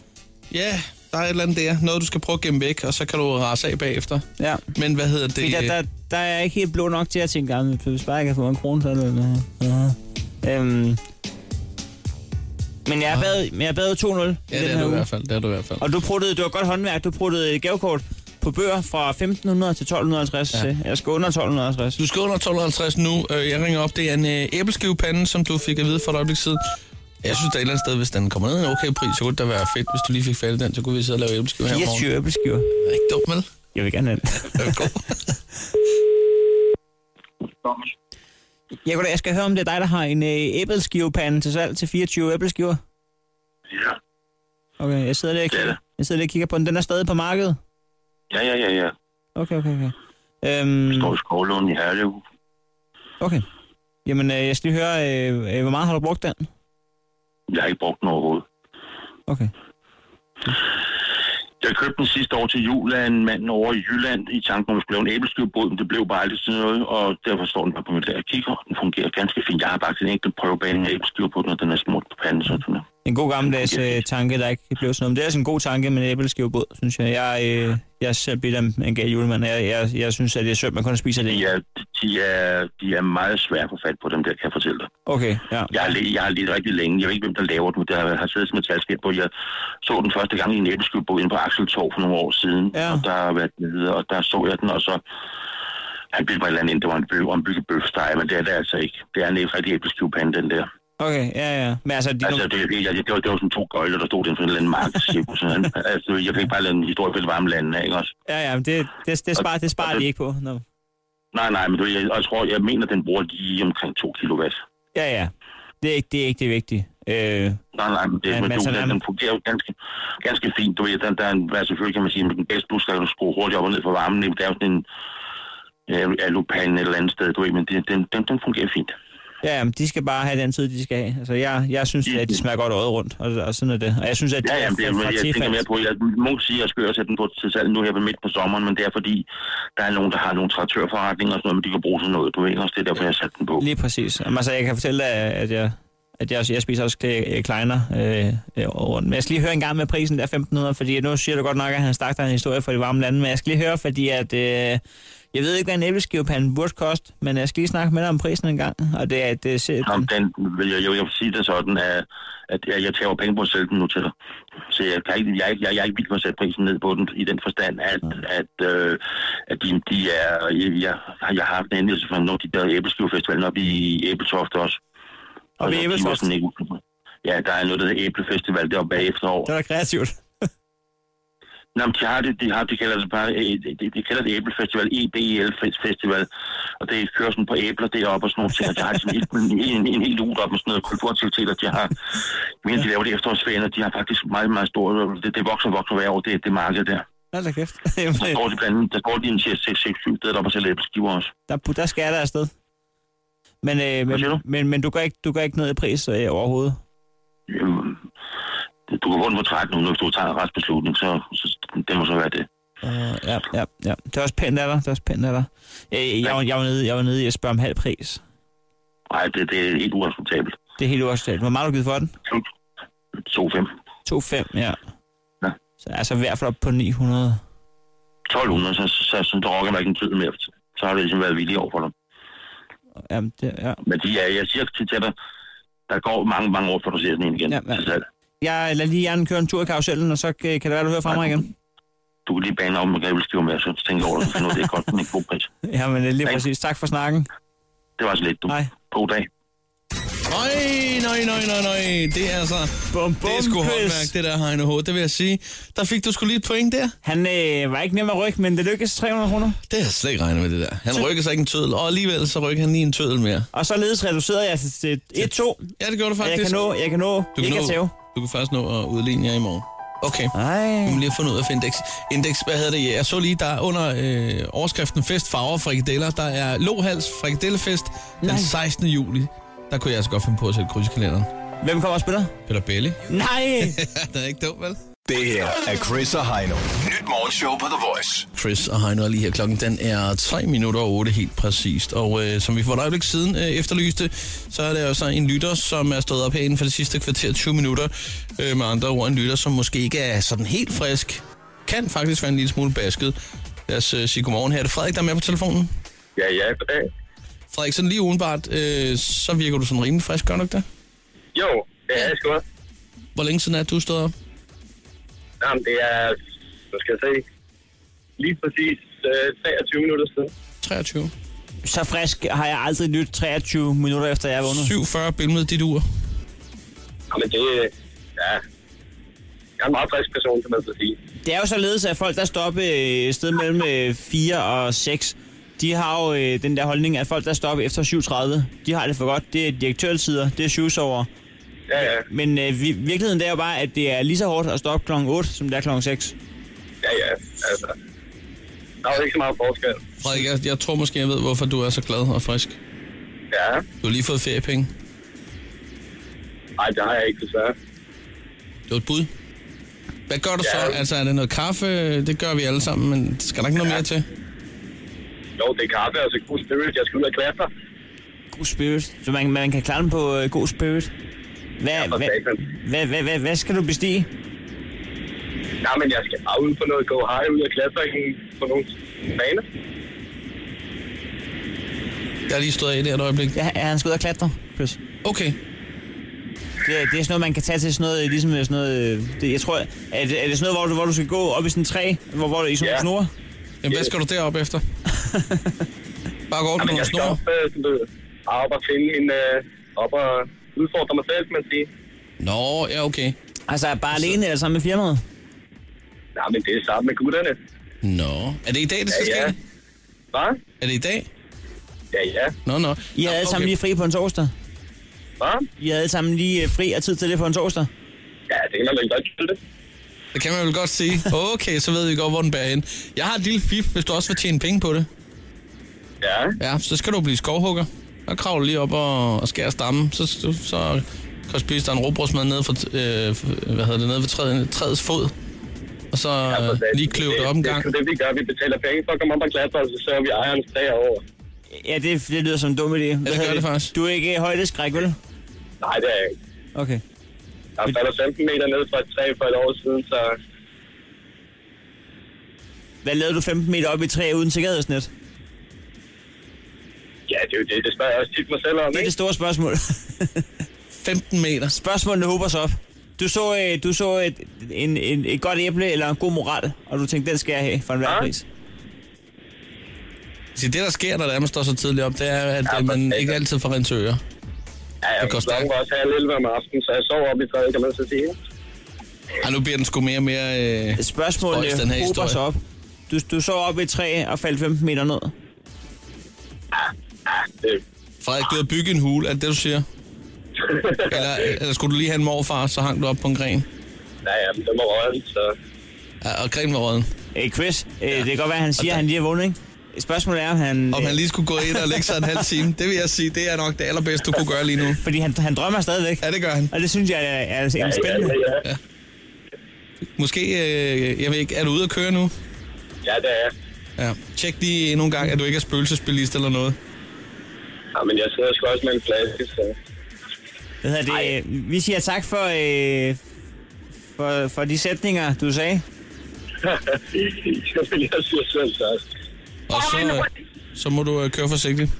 S3: Ja, der er et eller andet der. Noget, du skal prøve at gemme væk, og så kan du rase af bagefter.
S4: ja.
S3: Men hvad hedder
S4: Fordi
S3: det?
S4: der, der, der er jeg ikke helt blå nok til at tænke, at hvis bare jeg kan få en krone, så er det... Ja. Øhm. Men jeg bad, men jeg bad 2-0 i
S3: Ah. Ja,
S4: den
S3: det
S4: her
S3: er du i
S4: uge.
S3: hvert fald. Det er du i hvert fald.
S4: Og du pruttede, det var godt håndværk, du pruttede et gavekort på bøger fra 1500 til 1250. Ja. Jeg skal under 1250.
S3: Du skal under 1250 nu. Øh, Jeg ringer op. Det er en øh, æbleskivepande, som du fik at vide for et øjeblik siden. Jeg synes, der er et eller andet sted, hvis den kommer ned i en okay pris, så kunne det da være fedt, hvis du lige fik fat i den. Så kunne vi sidde og lave æbleskive her om morgenen.
S4: 24 æbleskiver.
S3: Det er Ikke dumt, vel?
S4: Jeg vil gerne have den.
S3: Det er god.
S10: Thomas.
S4: Jeg, kunne, jeg skal høre, om det er dig, der har en øh, æbleskivepande til salg til 24 æbleskiver.
S10: Ja.
S4: Okay, jeg sidder lige og kigger, jeg sidder lige og kigger på den. Den er stadig på markedet?
S10: Ja, ja, ja, ja.
S4: Okay, okay, okay. Øhm,
S10: Står i Skovlund i Herlev.
S4: okay. Jamen, øh, jeg skal lige høre, øh, øh, hvor meget har du brugt den?
S10: Jeg har ikke brugt den overhovedet.
S4: Okay.
S10: Jeg købte den sidste år til jul af en mand over i Jylland i tanken om, at skulle lave en æbleskivebåd, men det blev bare aldrig til noget, og derfor står den bare på mit lager kigger, og den fungerer ganske fint. Jeg har bare en enkelt prøvebane af æbleskiver på den, og den er smurt på panden, så den er.
S4: En god gammeldags øh, tanke, der ikke blev sådan noget. Men det er altså en god tanke med en æbleskivebåd, synes jeg. Jeg, øh, jeg er selv blevet en, en gal julemand. Jeg, jeg, jeg synes, at det er sødt, man kun spiser det.
S10: Ja. De er, de er meget svære at få fat på dem der, kan jeg fortælle dig.
S4: Okay, ja.
S10: Jeg har, le- jeg har lidt rigtig længe. Jeg ved ikke, hvem der laver den, men der har siddet som et talskab på. Jeg så den første gang i en æbleskivebåd inde på Axeltorv for nogle år siden, ja. og der har været nede, og der så jeg den, og så han bildte mig et eller andet ind, det var en bøf, om bøfsteg, men det er det altså ikke. Det er en rigtig æbleskivepande, den der.
S4: Okay, ja, ja. Men altså, de,
S10: Altså, det, jeg, det, var, det var sådan to gøjler, der stod den for en eller anden markedschef. og sådan. altså, jeg kan ikke bare lade en historie for det varme lande af, ikke også?
S4: ja, ja, men det, det, det, sparer, det sparer de ikke på. No.
S10: Nej, nej, men du, jeg, jeg, tror, jeg mener, den bruger lige omkring 2 kilowatt.
S4: Ja, ja. Det er ikke det, er ikke det vigtige. Øh,
S10: Nej, nej, men det,
S4: Ja,
S10: men,
S4: men
S10: du,
S4: sådan er
S10: den,
S4: man.
S10: den fungerer jo ganske, ganske fint. Du ved, den, der er en, hvad selvfølgelig kan man sige, at den bedste, du skal skrue hurtigt op og ned for varmen. Det er jo sådan en øh, alupande et eller andet sted, du ved, men det, den, den, den fungerer fint.
S4: ja, ja, men de skal bare have den tid, de skal have. Altså, jeg, jeg synes, at de smager godt året rundt, og, og sådan er det. Og jeg synes, at de
S10: Ja, ja, men det, er-
S4: fra-
S10: men
S4: fra
S10: jeg tænker
S4: Tefal-
S10: mere på, jeg må sige, at jeg skal jo sætte den på til salg nu her ved midt på sommeren, men det er fordi, der er nogen, der har nogle traktørforretninger og sådan noget, men de kan bruge sådan noget, du ved, ikke? også? det er derfor, jeg satte den på.
S4: Lige præcis. Jamen, altså, jeg kan fortælle dig, at jeg, at jeg, jeg spiser også kle- øh, kleiner øh, øh, over rundt. Men jeg skal lige høre en gang med prisen der 1500, fordi nu siger du godt nok, at han stak dig en historie fra de varme lande, men jeg skal lige høre, fordi at, øh, jeg ved ikke, hvad en æbleskivepande burde koste, men jeg skal lige snakke med dig om prisen en gang. Og det, er- øh, det, det,
S10: Jamen, den vil jeg, jeg vil sige det sådan, at, at jeg, jeg tager penge på at sælge den nu til dig. Så jeg, kan ikke, jeg, er ikke- jeg, jeg er ikke vildt på at sætte prisen ned på den, i den forstand, at, at, øh, at de, de er... Jeg, jeg, jeg har haft en anmeldelse fra nogle af de der æbleskivefestivalen oppe i Æbletoft også. Og
S4: Oppe i
S10: de var
S4: Ebeltoft?
S10: sådan ikke ude på- Ja, der er noget, der hedder Æblefestival deroppe bag efterår.
S4: det var kreativt.
S10: Nå, men de har det, de, har, de kalder det bare, øh, de, de kalder det æblefestival, EBL Festival, og det kører sådan på æbler deroppe og sådan nogle ting, og de har sådan en, en, en, en hel uge deroppe med sådan noget kulturaktiviteter, de har, jeg mener, de laver det efterårsferien, og de har faktisk meget, meget store, det, det vokser og vokser hver år, det, det marked der.
S4: Hold da kæft.
S10: Der står de blandt andet, der står de en 6-7 steder deroppe og sælger æbleskiver også.
S4: Der, der skal jeg da afsted. Men, øh, men, men, men, du, går ikke, du går ikke ned i pris øh, overhovedet.
S10: Jamen, Du kan få den for 1300, hvis du tager en retsbeslutning, så, så det må så være det.
S4: Uh, ja, ja, ja. Det er også pænt af dig. Det er også pænt af dig. Øh, jeg, var- jeg, var nede, jeg var nede i at spørge om halv pris.
S10: Nej, det, det er helt uacceptabelt.
S4: Det er helt uacceptabelt. Hvor meget har du givet for den?
S10: 2,5.
S4: 2,5, ja. Så altså i hvert fald op på 900.
S10: 1200, så, så, så, så der rokker der ikke en tød mere. Så har det ligesom været vildt over for dem.
S4: Jamen, det, ja.
S10: Men de er, jeg siger til dig, der går mange, mange år, før du ser sådan en igen. Ja, ja. Selv.
S4: Jeg lader lige hjernen køre en tur i karusellen, og så øh, kan det være, du hører fra mig igen.
S10: Du kan lige bane om, at jeg vil skrive med, så tænker jeg over det, for noget, det er godt, men en god pris.
S4: Ja, men lige præcis. Tak for snakken.
S10: Det var så lidt, du.
S4: Hej.
S10: God dag.
S3: Øj, nøj, nøj, nøj, nøj. Det er altså...
S4: Bum,
S3: det er sgu
S4: Chris.
S3: håndværk, det der, Heino H. Det vil jeg sige. Der fik du sgu lige et point der.
S4: Han øh, var ikke nem at rykke, men det lykkedes 300 kroner.
S3: Det har jeg slet ikke regnet med, det der. Han rykker sig ikke en tødel, og alligevel så rykker han lige en tødel mere.
S4: Og således reducerede jeg til 1-2.
S3: Ja, det gjorde du
S4: Jeg
S3: faktisk.
S4: kan nå, jeg kan nå
S3: Du kan,
S4: ikke at
S3: nå,
S4: tæve.
S3: du kan først nå at udligne jer i morgen. Okay.
S4: Nej.
S3: Du må lige have fundet ud af for indeks. Indeks, hvad hedder det? Jeg så lige, der er under øh, overskriften Fest, Farver, Frikadeller. Der er Lohals Frikadellefest den 16. juli. Der kunne jeg altså godt finde på at sætte kryds i kalenderen.
S4: Hvem kommer og spiller?
S3: Peter Belli.
S4: Nej!
S3: det er ikke dumt, vel?
S5: Det her er Chris og Heino. Nyt morgenshow på The Voice.
S3: Chris og Heino er lige her. Klokken den er 3 minutter og 8 helt præcist. Og øh, som vi for et øjeblik siden øh, efterlyste, så er der jo så en lytter, som er stået op her inden for det sidste kvarter 20 minutter. Øh, med andre ord en lytter, som måske ikke er sådan helt frisk. Kan faktisk være en lille smule basket. Lad os øh, sige godmorgen her. Er det Frederik, der er med på telefonen?
S11: Ja, ja, goddag.
S3: Frederik, sådan lige udenbart, øh, så virker du sådan rimelig frisk, gør du ikke det?
S11: Jo, det er jeg sgu også.
S3: Hvor længe siden er det, du stod op?
S11: Jamen, det er, nu skal jeg se, lige præcis øh, 23 minutter siden.
S3: 23.
S4: Så frisk har jeg aldrig lyttet 23 minutter efter, jeg er vågnet.
S3: 47 billede dit ur.
S11: Jamen, det er, ja, jeg er en meget frisk person, kan man så sige.
S4: Det er jo således, at folk, der står op øh, et sted mellem 4 øh, og 6, de har jo øh, den der holdning, at folk, der står op efter 37, de har det for godt. Det er direktørtider, det er syvsover.
S11: Ja, ja.
S4: Men øh, vi, virkeligheden det er jo bare, at det er lige så hårdt at stå op kl. 8, som det er kl. 6.
S11: Ja, ja, altså. Der er jo ikke så meget forskel.
S3: Frederik, jeg, jeg tror måske, jeg ved, hvorfor du er så glad og frisk.
S11: Ja,
S3: Du har lige fået feriepenge.
S11: nej, det har jeg ikke desværre.
S3: Det var et bud. Hvad gør du
S11: Ja.
S3: så? Altså, er det noget kaffe? Det gør vi alle sammen, men skal der ikke noget mere til?
S11: Jo, det er kaffe, altså god spirit. Jeg skal ud og klatre.
S4: God spirit. Så man, man kan klare den på øh, god spirit. Hvad, hvad, hvad, hvad, hvad, hvad skal du bestige?
S11: Nej, men jeg skal bare ud på noget go high, ud og klatre i en- på nogle baner.
S3: Jeg har lige stået af i det her et øjeblik.
S4: Ja, han skal ud og klatre. Plus.
S3: Okay.
S4: Det, er- det er sådan noget, man kan tage til sådan noget, øh, ligesom sådan noget... øh, Det, jeg tror, er det, er det sådan noget, hvor du, hvor du skal gå op i sådan en træ, hvor, hvor du i sådan
S11: Ja.
S4: yeah. snore?
S3: Jamen, hvad skal du derop efter? Bare gå
S11: Jamen, jeg skal op, øh, sådan, du, ved, op og finde min... Øh, op og udfordre mig selv, kan man sige.
S3: Nå, ja, okay.
S4: Altså, bare alene eller sammen med firmaet?
S11: Nej, men det er sammen med gutterne.
S3: Nå. Er det i dag, det skal
S11: Ja, ja.
S3: ske?
S11: Hvad?
S3: Er det i dag?
S11: Ja, ja.
S3: Nå, nå.
S4: I er alle sammen lige fri på en torsdag?
S11: Hvad?
S4: I er alle sammen lige øh, fri og tid til det på en torsdag?
S11: Ja, det kan man vel godt kalde det.
S3: Det kan man vel godt sige. Okay, så ved vi godt, hvor den bærer hen. Jeg har et lille fif, hvis du også vil tjene penge på det.
S11: Ja.
S3: Ja, så skal du blive skovhugger. Så kravler du lige op og, og skærer stammen. Så, så, så kan du spise dig en råbrødsmad nede, for, øh, for- hvad hedder det, nede ved træet, træets fod. Og så øh, lige kløve det op en gang.
S11: Det er det, vi gør. Vi betaler penge for at komme op og klatre, og så sørger vi ejerens træer over.
S4: Ja, det, det lyder som en dum idé. Ja, det
S3: gør det faktisk.
S4: Du er ikke øh, højdeskræk, vel?
S11: Nej, det er jeg ikke.
S4: Okay.
S11: Jeg falder 15 meter ned fra et træ for et år siden, så
S4: Hvad lavede du 15 meter op i træ uden sikkerhedsnet?
S11: ja, det er jo det. Det spørger jeg også tit mig selv om,
S4: Det er
S11: ikke?
S4: det store spørgsmål.
S3: 15 meter.
S4: Spørgsmålene håber sig op. Du så, øh, du så et, en, en, et godt æble eller en god moral, og du tænkte, den skal jeg have for
S11: Ah.
S4: enhver pris.
S3: Så det, der sker, når det er, man står så tidligt op, det er, at ja, man ikke altid får rent til ører.
S11: Ja, jeg
S3: det går stærkt.
S11: var også halv 11 om aftenen, så jeg sover op i træet, kan man så sige.
S3: Ej, nu bliver den sgu mere og mere øh,
S4: Spørgsmålene
S3: spøjs, den her
S4: hober sig
S3: historie.
S4: op. Du, du så op i et træ og faldt 15 meter ned.
S3: Frederik, du har bygget en hule, er det det, du siger? eller, eller skulle du lige have en morfar, så hang du op på en gren?
S11: Ja, ja, men det var røden, så...
S3: Ja, og grenen var råden.
S4: Øh, Chris, øh, det kan godt være, at han siger, at han lige er vågnet, ikke? Spørgsmålet er, om han...
S3: Om
S4: øh,
S3: han lige skulle gå ind og lægge sig en halv time, det vil jeg sige, det er nok det allerbedste, du kunne gøre lige nu.
S4: Fordi han, han drømmer stadigvæk.
S3: Ja, det gør han.
S4: Og det synes jeg er, er, er spændende.
S11: Ja, ja,
S3: ja. Måske, øh, jeg ved ikke, er du ude at køre nu?
S11: ja det er jeg.
S3: Ja. Tjek lige endnu en gang, at du ikke er spøgelsesbilist eller noget.
S11: Ja, men jeg sidder sgu også med en flaske, så...
S4: Hvad hedder det? øh, Vi siger tak for, øh, for, for de sætninger, du sagde.
S11: jeg siger selv tak.
S3: Og så, øh, så må du øh, køre forsigtigt.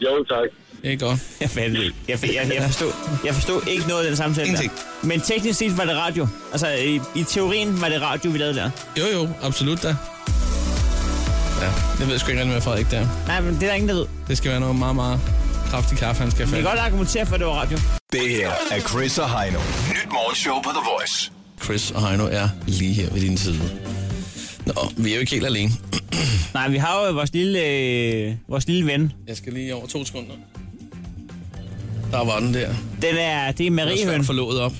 S11: Jo, tak.
S3: Det er godt.
S4: Jeg fattede ikke. Jeg, jeg, jeg, forstod, jeg forstod ikke noget af den samtale
S3: Ingenting.
S4: der. Men teknisk set var det radio. Altså, i, i teorien var det radio, vi lavede der.
S3: Jo, jo, absolut da. Ja, det ved jeg sgu ikke rigtig med Frederik der.
S4: Nej, men det er der ingen, der ved.
S3: Det skal være noget meget, meget kraftig kaffe, han skal
S4: Vi
S3: have
S4: kan
S3: fat
S4: godt argumentere for, at det var radio.
S5: Det her er Chris og Heino. Nyt morgenshow på The Voice.
S3: i. Chris og Heino er lige her ved din side. Nå, vi er jo ikke helt alene.
S4: Nej, vi har jo vores lille, øh, vores lille ven.
S3: Jeg skal lige over to sekunder. Der var den der.
S4: Den er, det er
S3: Det
S4: Marie
S3: var
S4: Høn.
S3: svært forlået op.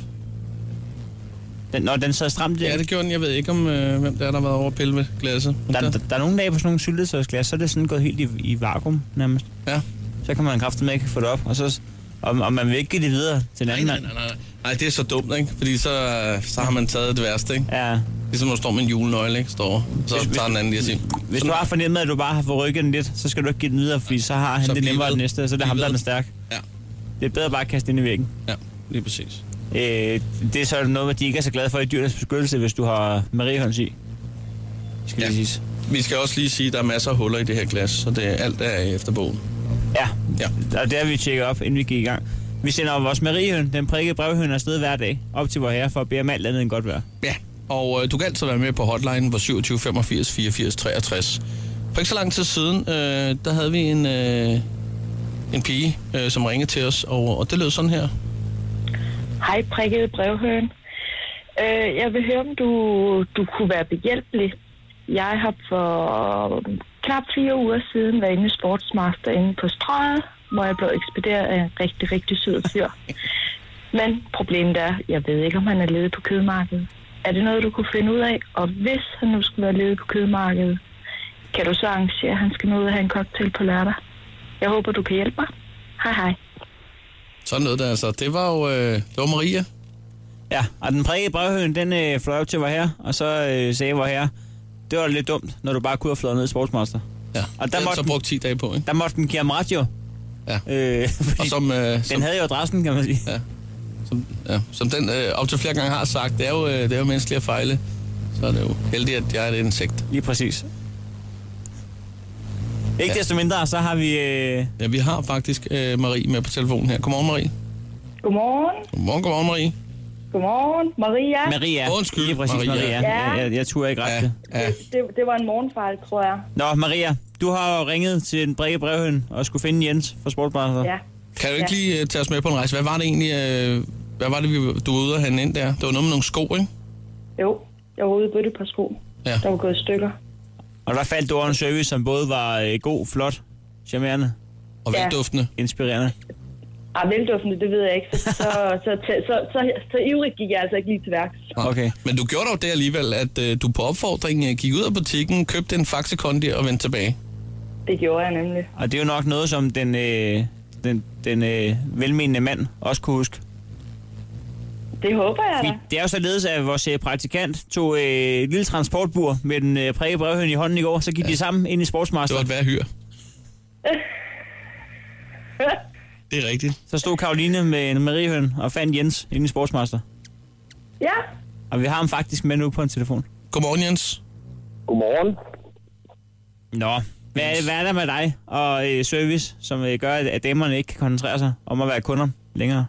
S4: Den, når den sad stramt der.
S3: Ja, det gjorde den. Jeg ved ikke, om øh, hvem der er, der har været over at pille ved glasset. Men
S4: Der, der, der er nogle dage på sådan nogle syltetøjsglas, så er det sådan gået helt i, i vakuum nærmest.
S3: Ja.
S4: Så kan man kraftigt med ikke få det op, og, så, og, og man vil ikke give det videre til en anden
S3: Nej,
S4: mand.
S3: nej, nej, nej. nej, det er så dumt, ikke? Fordi så, øh, så har man taget det værste, ikke?
S4: Ja.
S3: Ligesom når du står med en julenøgle, ikke? Står over. så
S4: Hvis- hvis-
S3: tager den anden lige og siger,
S4: Hvis du har fornemmet, at du bare har forrykket den lidt, så skal du ikke give den videre, fordi så har han
S3: Så
S4: det
S3: bliv
S4: nemmere
S3: ved.
S4: den næste, så er det
S3: Bliv
S4: ham, der er
S3: ved.
S4: den stærk.
S3: Ja.
S4: Det er bedre bare at kaste den ind i væggen.
S3: ja, lige præcis.
S4: Øh, det er så noget, de ikke er så glade for i dyrenes beskyttelse, hvis du har mariehøns i. Skal ja. lige siges.
S3: Vi skal også lige sige, at der er masser af huller i det her glas, så det, alt er efter bogen.
S4: Ja,
S3: Ja.
S4: og det har vi tjekket op, inden vi gik i gang. Vi sender vores mariehøn, den prikkede brevhøn, afsted hver dag op til vor herre for at bede om alt andet end godt vejr.
S3: Ja, og øh, du kan altid være med på hotline på 27 85 84 63. For ikke så lang tid siden, øh, der havde vi en, øh, en pige, øh, som ringede til os, og, og det lød sådan her.
S12: Hej, prikkede brevhøren. Øh, jeg vil høre, om du, du kunne være behjælpelig Jeg har for knap fire uger siden været inde i Sportsmaster inde på strøget, hvor jeg blev ekspederet af en rigtig, rigtig sød fyr. Men problemet er, jeg ved ikke, om han er ledet på kødmarkedet. Er det noget, du kunne finde ud af? Og hvis han nu skulle være ledet på kødmarkedet, kan du så arrangere, at han skal nå ud og have en cocktail på lørdag? Jeg håber, du kan hjælpe mig. Hej hej.
S3: Sådan noget der, altså. Det var jo øh, det var Maria.
S4: Ja, og den prikkede brevhøen, den øh, fløj op til var her, og så øh, sagde var her, det var lidt dumt, når du bare kunne have fløjet ned i Sportsmaster.
S3: Ja,
S4: og der måtte
S3: så brugt 10 dage på, ikke?
S4: Der måtte den give ham ret jo.
S3: Ja.
S4: Øh,
S3: og som, øh, den som,
S4: havde jo adressen, kan man sige.
S3: Ja. Som, ja. som den øh, op til flere gange har sagt, det er jo, øh, det er jo menneskeligt at fejle. Så er det jo heldigt, at jeg er et insekt.
S4: Lige præcis. Ikke ja. desto mindre, så har vi... Øh...
S3: Ja, vi har faktisk øh, Marie med på telefonen her. Godmorgen, Marie.
S13: Godmorgen.
S3: Godmorgen, godmorgen, Marie.
S13: Godmorgen. Maria.
S4: Maria.
S3: Undskyld,
S4: Lige præcis, Maria. Maria.
S13: Ja.
S4: Jeg, jeg, jeg turde ikke ret det.
S3: Ja.
S13: Det, det var en morgenfejl, tror jeg.
S4: Nå, Maria, du har jo ringet til den brække brevhøn og skulle finde Jens fra Sportbarnet.
S13: Ja.
S3: Kan du ikke
S13: Ja.
S3: lige øh, tage os med på en rejse? Hvad var det egentlig, øh, hvad var det, vi, du var ude og handle ind der? Det var noget med nogle sko, ikke?
S13: Jo, jeg var ude og bytte et par sko,
S3: Ja.
S13: der var gået i stykker.
S4: Og der faldt du over en service, som både var øh, god, flot, charmerende.
S3: Og
S13: Ja.
S3: velduftende.
S4: Inspirerende.
S13: Ah, velduftende, det ved jeg ikke. Så, så, så, så, så, så, så ivrigt gik jeg altså ikke lige til værks.
S4: Okay.
S3: Men du gjorde dog det alligevel, at øh, du på opfordring øh, gik ud af butikken, købte en Faxe Kondi og vendte tilbage.
S13: Det gjorde jeg nemlig.
S4: Og det er jo nok noget, som den, øh, den, den øh, velmenende mand også kunne huske.
S13: Det håber jeg
S4: Vi,
S13: da.
S4: det er jo således, at vores øh, praktikant tog øh, et lille transportbur med den øh, præge brevhøn i hånden i går, så gik ja. de sammen ind i Sportsmaster.
S3: Det var et værd hyr. Det er rigtigt.
S4: Så stod Karoline med en Mariehøn og fandt Jens inde i Sportsmaster.
S13: Ja.
S4: Og vi har ham faktisk med nu på en telefon.
S3: Godmorgen, Jens.
S11: Godmorgen.
S4: Nå, hvad, er- hvad er der med dig og øh, service, som øh, gør, at, at damerne ikke kan koncentrere sig om at være kunder længere?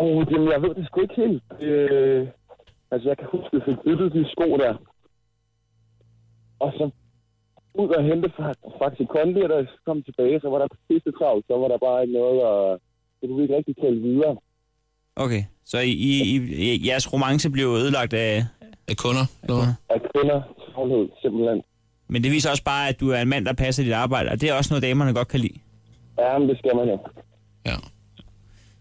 S11: Og jamen, jeg ved det sgu ikke helt. Øh, altså, jeg kan huske, at jeg fik byttet de sko der. Og så ud og hente fra- faktisk kondi, og da jeg kom tilbage, så var der pisse travlt. Så var der bare ikke noget, og det kunne vi ikke rigtig tale videre.
S4: Okay, så I, I, I, I- jeres romance blev ødelagt af...
S3: Af kunder? Af
S4: kunder.
S11: Af kvinder, travlhed, simpelthen.
S4: Men det viser også bare, at du er en mand, der passer dit arbejde, og det er også noget, damerne godt kan lide.
S11: Ja, men det skal man jo.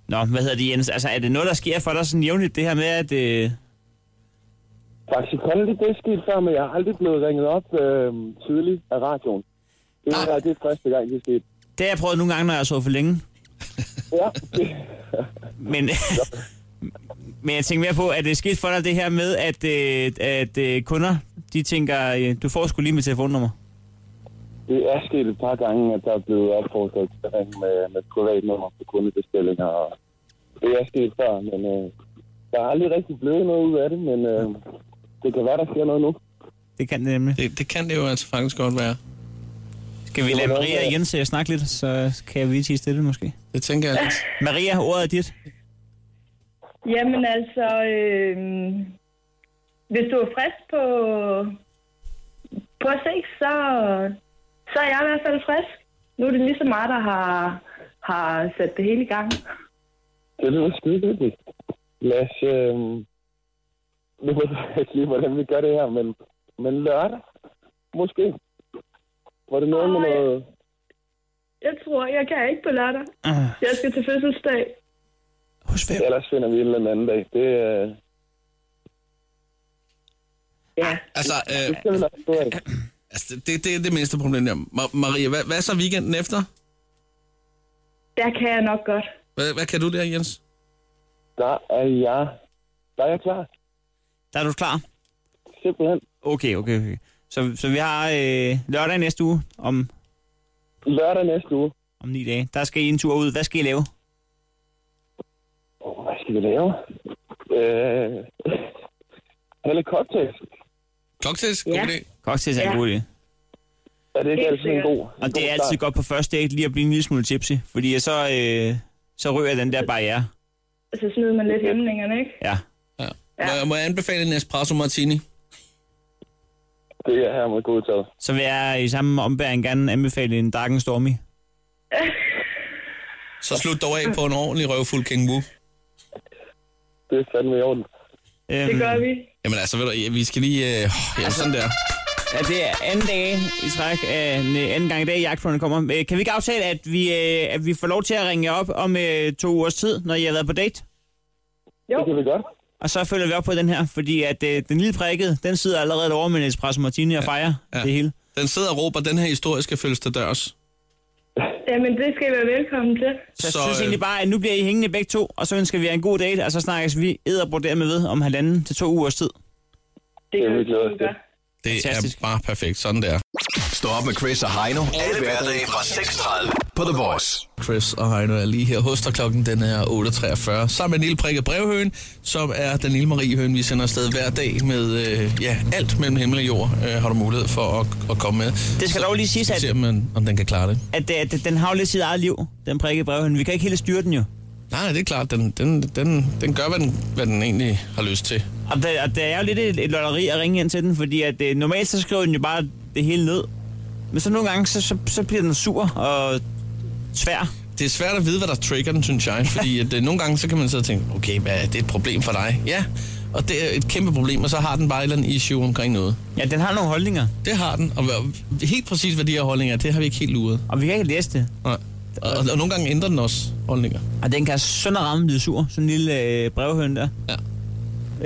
S4: Nå, hvad hedder det, Jens? Altså, er det noget, der sker for dig sådan jævnligt, det her med, at... Øh,
S11: Faktisk kondi, det er sket før, men jeg har aldrig blevet ringet op øh, tidligt af radioen. Det er, det er første gang, det er sket.
S4: det har jeg prøvet nogle gange, når jeg så for længe.
S11: Ja,
S4: Men, men jeg tænker mere på, at det er sket for dig det her med, at, øh, at øh, kunder, de tænker, øh, du får sgu lige mit telefonnummer.
S11: Det er sket et par gange, at der er blevet opfordret til at ringe med, med privatnummer på kundebestillinger. Og det er sket før, men øh, der er aldrig rigtig blevet noget ud af det, men øh, det kan være, der sker noget nu.
S4: Det kan det nemlig.
S3: Det, det kan det jo altså faktisk godt være.
S4: Skal vi lade Maria og Jens øh, snakke lidt, så kan jeg vise til stille måske.
S3: Det tænker jeg lidt.
S4: Maria, ordet er dit.
S13: Jamen altså, øh, hvis du er frisk på, på at ses, så, så er jeg i hvert fald frisk. Nu er det ligesom mig, der har, har sat det hele i gang.
S11: Det lyder skide hyggeligt. Lad os... Øh, nu ved jeg ikke lige, hvordan vi gør det her, men, men lørdag, måske. Var det noget med noget...
S13: Jeg tror, jeg kan ikke på lørdag. Jeg skal til fødselsdag.
S4: Hos hvem?
S11: Ellers finder vi en eller anden dag. Det, øh,
S13: Ja.
S3: Altså, øh,
S11: det, vil nok stå af.
S3: altså det, det er det mindste problem der. Ma- Maria, hvad, hvad så weekenden efter?
S13: Der kan jeg nok godt.
S3: Hvad, hvad kan du der, Jens?
S11: der er jeg... Der er jeg klar.
S4: Der er du klar?
S11: Simpelthen.
S4: Okay, okay, okay. Så, så vi har øh, lørdag næste uge om...
S11: Lørdag næste uge.
S4: Om ni dage. Der skal I en tur ud. Hvad skal I lave?
S11: Åh, Hvad skal vi lave? Øh... Helle cocktails.
S3: Cocktails? God
S11: Ja.
S3: idé.
S4: Cocktails er en
S11: Ja.
S4: god idé.
S11: Er det ikke
S4: Helt
S11: altid en god en
S4: Og det er
S11: god
S4: altid
S11: start?
S4: godt på første date lige at blive en lille smule tipsy, fordi så, øh, så ryger den der barriere.
S13: Så smider man lidt hæmningerne, ikke?
S4: Ja.
S3: Ja. Må, jeg, må jeg anbefale en espresso martini?
S11: Det er her med godtaget.
S4: Så vil jeg i samme ombæring gerne anbefale en Dark and Stormy.
S3: Så slut dog af på en ordentlig røvfuld kænguru.
S11: Det er fandme i orden.
S4: Øhm,
S13: gør vi.
S3: Jamen altså, ved du, ja, vi skal lige... Øh, ja, sådan der.
S4: Ja, det er anden dag i træk, af, nej, anden gang i dag, jagtprøven kommer. Øh, Kan vi ikke aftale, at vi, øh, at vi får lov til at ringe jer op om øh, to ugers tid, når I har været på date?
S13: Jo. Det
S11: kan vi godt.
S4: Og så følger vi op på den her, fordi at øh, den lille prikkede, den sidder allerede over med en espresso martini og fejrer ja. det hele.
S3: Den sidder og råber, den her historie skal følges til dørs.
S13: Jamen, det skal I være velkommen til.
S4: Så, så jeg
S3: øh,
S4: synes egentlig bare, at nu bliver I hængende begge to, og så ønsker vi jer en god date, og så snakkes vi edderbord med ved om halvanden til to ugers tid.
S13: Det
S11: er vi glade til.
S3: Det Fantastisk. er bare perfekt. Sådan der.
S5: Stå op med Chris og Heino. Alle hverdage fra 6.30 på The Voice.
S3: Chris og Heino er lige her hos dig. Klokken den er 8.43. Sammen med Nille Prikke Brevhøen, som er den lille Marie Høen, vi sender afsted hver dag med øh, ja, alt mellem himmel og jord, øh, har du mulighed for at, at komme med.
S4: Det skal dog lige siges,
S3: at...
S4: at-
S3: Se, om, man- om den kan klare det.
S4: At, at, at den har jo lidt sit eget liv, den prikkede brevhøn. Vi kan ikke helt styre den jo.
S3: Nej, nej, det er klart. Den, den, den, den gør, hvad den, hvad den egentlig har lyst til.
S4: Og der, og der er jo lidt et, et lotteri at ringe ind til den, fordi at, øh, normalt så skriver den jo bare det hele ned. Men så nogle gange, så, så, så bliver den sur og svær.
S3: Det er svært at vide, hvad der trigger den, synes jeg. Fordi at, øh, nogle gange så kan man sidde og tænke, okay, hvad, er det er et problem for dig. Ja, og det er et kæmpe problem, og så har den bare et eller andet issue omkring noget.
S4: Ja, den har nogle holdninger.
S3: Det har den, og hvad- helt præcis hvad de her holdninger er, det har vi ikke helt luret.
S4: Og vi kan ikke læse det.
S3: Nej. Og, og nogle gange ændrer den også holdninger.
S4: Og den kan sønder ramme blive sur, sådan en lille øh, brevhøn der.
S3: Ja.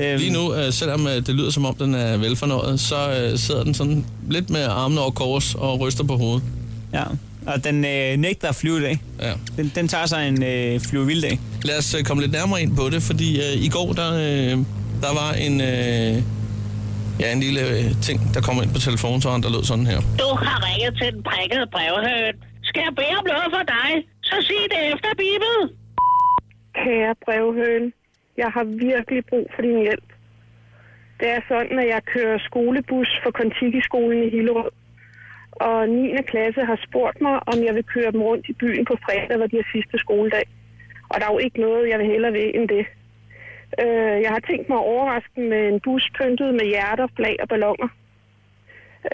S4: Øhm,
S3: Lige nu, øh, selvom øh, det lyder som om, den er velfornøjet, så øh, sidder den sådan lidt med armene over kors og ryster på hovedet.
S4: Ja, og den øh, nægter at flyve i dag.
S3: Ja.
S4: Den, den tager sig en øh, flyvevilddag.
S3: Lad os øh, komme lidt nærmere ind på det, fordi øh, i går, der, øh, der var en, øh, ja, en lille øh, ting, der kom ind på telefonsvaren, der lød sådan her.
S14: Du har ringet til den prikkede brevhøn. Skal jeg bede om noget for dig, så sig det efter Bibel.
S15: Kære brevhøen, jeg har virkelig brug for din hjælp. Det er sådan, at jeg kører skolebus for Kontiki-skolen i Hillerød. Og 9. klasse har spurgt mig, om jeg vil køre dem rundt i byen på fredag, hvor de har sidste skoledag. Og der er jo ikke noget, jeg vil hellere ved end det. Øh, Jeg har tænkt mig at overraske dem med en bus pyntet med hjerter, flag og ballonger.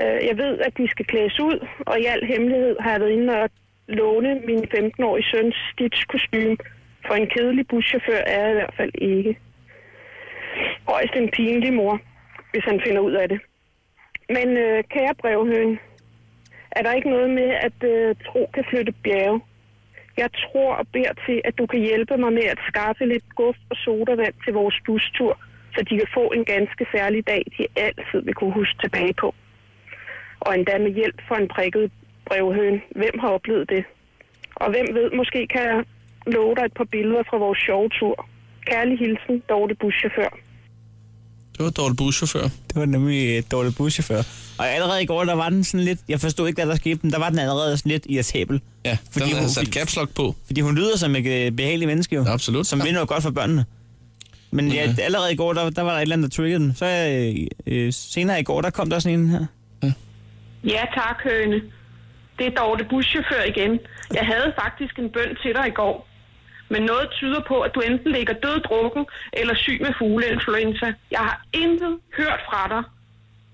S15: Øh, Jeg ved, at de skal klædes ud, og i al hemmelighed har jeg været inde og låne min 15-årige søns stitch-kostyme, for en kedelig buschauffør er jeg i hvert fald ikke. Højst en pinlig mor, hvis han finder ud af det. Men øh, kære brevhøen, er der ikke noget med, at øh, tro kan flytte bjerge? Jeg tror og beder til, at du kan hjælpe mig med at skaffe lidt guf og sodavand til vores bustur, så de kan få en ganske særlig dag, de altid vil kunne huske tilbage på. Og endda med hjælp fra en prikket brevhøn. Hvem har oplevet det? Og hvem ved, måske kan jeg love dig et par billeder fra vores sjove tur. Kærlig hilsen, Dorte Buschauffør.
S3: Det var Dorte Buschauffør.
S4: Det var nemlig et dårligt buschauffør. Og allerede i går, der var den sådan lidt... Jeg forstod ikke, hvad der skete, men der var den allerede sådan lidt irritabel.
S3: Ja, fordi den har sat caps lock på.
S4: Fordi hun lyder som et øh, behageligt menneske jo.
S3: Absolut. øh,
S4: Som vinder jo godt for børnene. Men ja, allerede i går, der, der var der et eller andet, der triggede den. Så øh, øh, senere i går, der kom der sådan en her.
S16: Ja tak, Høne. Det er Dorte Buschauffør igen. Jeg havde faktisk en bøn til dig i går. Men noget tyder på, at du enten ligger døddrukken eller syg med fugleinfluenza. Jeg har intet hørt fra dig.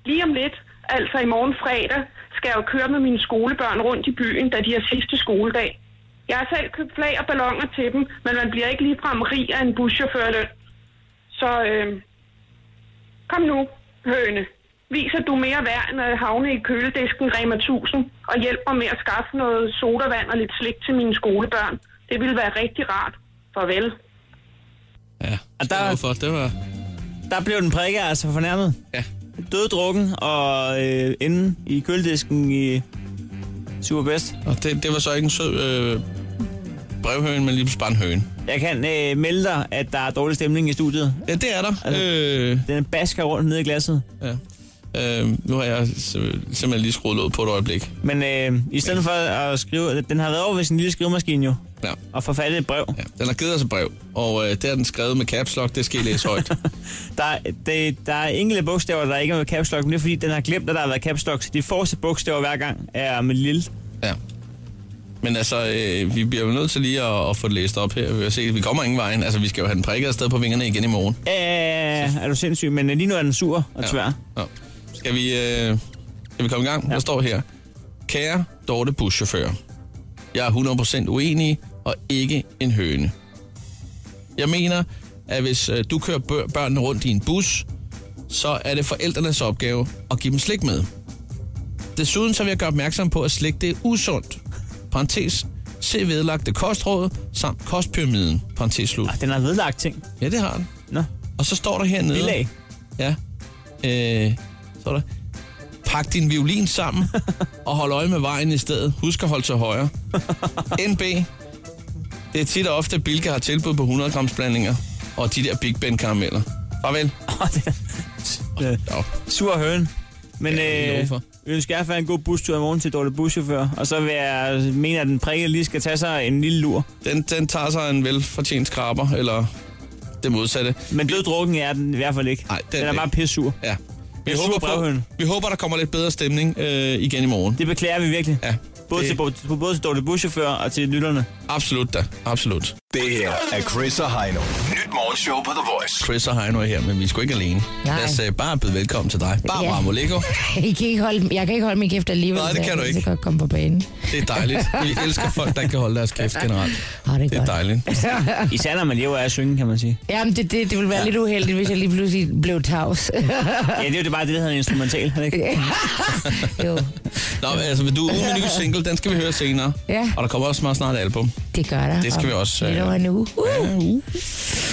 S16: Lige om lidt, altså i morgen fredag, skal jeg jo køre med mine skolebørn rundt i byen, da de har sidste skoledag. Jeg har selv købt flag og ballonger til dem, men man bliver ikke ligefrem rig af en buschaufførløn. Så øh, kom nu, høne. Vis, at du er mere værd end at havne i køledisken Rema 1000, og hjælp mig med at skaffe noget sodavand og lidt slik til mine skolebørn. Det ville være rigtig rart. Farvel.
S4: Og der,
S3: for, det var...
S4: der blev den prikke altså fornærmet.
S3: Ja.
S4: Døddrukken og øh, inde i køledisken i Superbest.
S3: Og det, det var så ikke en sød øh, brevhøn, men lige pludselig bare en høne.
S4: Jeg kan øh, melde dig, at der er dårlig stemning i studiet.
S3: Ja, det er der.
S4: Altså,
S3: øh...
S4: Den basker rundt nede i glasset.
S3: Ja. Øh, nu har jeg sim- simpelthen lige skruet låget på et øjeblik.
S4: Men øh, i stedet for at skrive... Den har været over ved sin lille skrivemaskine jo.
S3: Ja.
S4: Og forfattet et brev.
S3: Ja, den har givet os et brev, og øh, det har den skrevet med caps lock, det skal I læse højt.
S4: Der, er- det, der er enkelte bogstaver, der ikke er med caps lock, men det er fordi, den har glemt, at der har været caps lock. Så de forreste bogstaver hver gang er med lille.
S3: ja. Men altså, øh, vi bliver jo nødt til lige at, at få det læst op her. Vi, vil se, vi kommer ingen vejen. Altså, vi skal jo have den prikket afsted på vingerne igen i morgen.
S4: Æh, er du sindssyg? Men øh, lige nu er den sur og
S3: Ja.
S4: tvær.
S3: Nå. Skal vi, øh, skal vi komme i gang? Ja. Der står her. Kære Dorte Buschauffør. Jeg er 100% uenig og ikke en høne. Jeg mener, at hvis øh, du kører bør- børnene rundt i en bus, så er det forældrenes opgave at give dem slik med. Desuden så vil jeg gøre opmærksom på, at slik det er usundt. Parentes. Se vedlagte kostråd samt kostpyramiden. Parentes slut.
S4: Ah, Den har vedlagt ting.
S3: Ja, det har den.
S4: Nå.
S3: Og så står der hernede...
S4: Bilag.
S3: Ja. Øh, så er der... Pak din violin sammen og hold øje med vejen i stedet. Husk at holde til højre. NB. Det er tit og ofte, at Bilka har tilbud på 100 grams blandinger og de der Big Ben karameller. Farvel.
S4: Øh, Sur høn. Men
S3: er
S4: ja,
S3: nogen
S4: øh,
S3: for.
S4: vi ønsker i hvert fald en god bustur i morgen til Dorte Buschauffør. Og så vil jeg mene, at den prikke lige skal tage sig en lille lur.
S3: Den, den tager sig en velfortjent skraber, eller det modsatte.
S4: Men død drukken er den i hvert fald ikke.
S3: Nej,
S4: den er bare pissur.
S3: Ja. Vi
S4: En sur
S3: håber, på,
S4: brevhøne.
S3: vi håber, der kommer lidt bedre stemning øh, igen i morgen.
S4: Det beklager vi virkelig.
S3: Ja.
S4: Både,
S3: det-
S4: til, både, både til Dorte Buschauffør og til lytterne.
S3: Absolut da. Absolut.
S5: Det her er Chris og Heino. Nyt morgenshow på The Voice.
S3: Chris og Heino er her, men vi er sgu ikke alene.
S17: Nej.
S3: Lad os øh, bare byde velkommen til dig. Barbara
S17: Ja.
S3: ja. Molego.
S17: I kan ikke holde, jeg kan ikke holde min kæft alligevel.
S3: Nej, det
S17: så jeg
S3: kan du ikke.
S17: Så godt komme på banen.
S3: Det er dejligt. Vi elsker folk, der ikke kan holde deres kæft generelt.
S17: Ah, det er
S3: det er
S17: godt.
S3: dejligt.
S4: Især når man lever af at synge, kan man sige.
S17: Jamen, det, det, det ville være ja. lidt uheldigt, hvis jeg lige pludselig blev tavs.
S4: Ja, det er jo det bare det, der hedder en instrumental, er det ikke?
S17: jo,
S3: Nå, altså, vil du ud med en ny single, den skal vi høre senere.
S17: Ja.
S3: Og der kommer også meget snart et album.
S17: det gør der.
S3: Det skal vi også,
S17: Lidt
S3: øh,
S17: over en uge. Uh.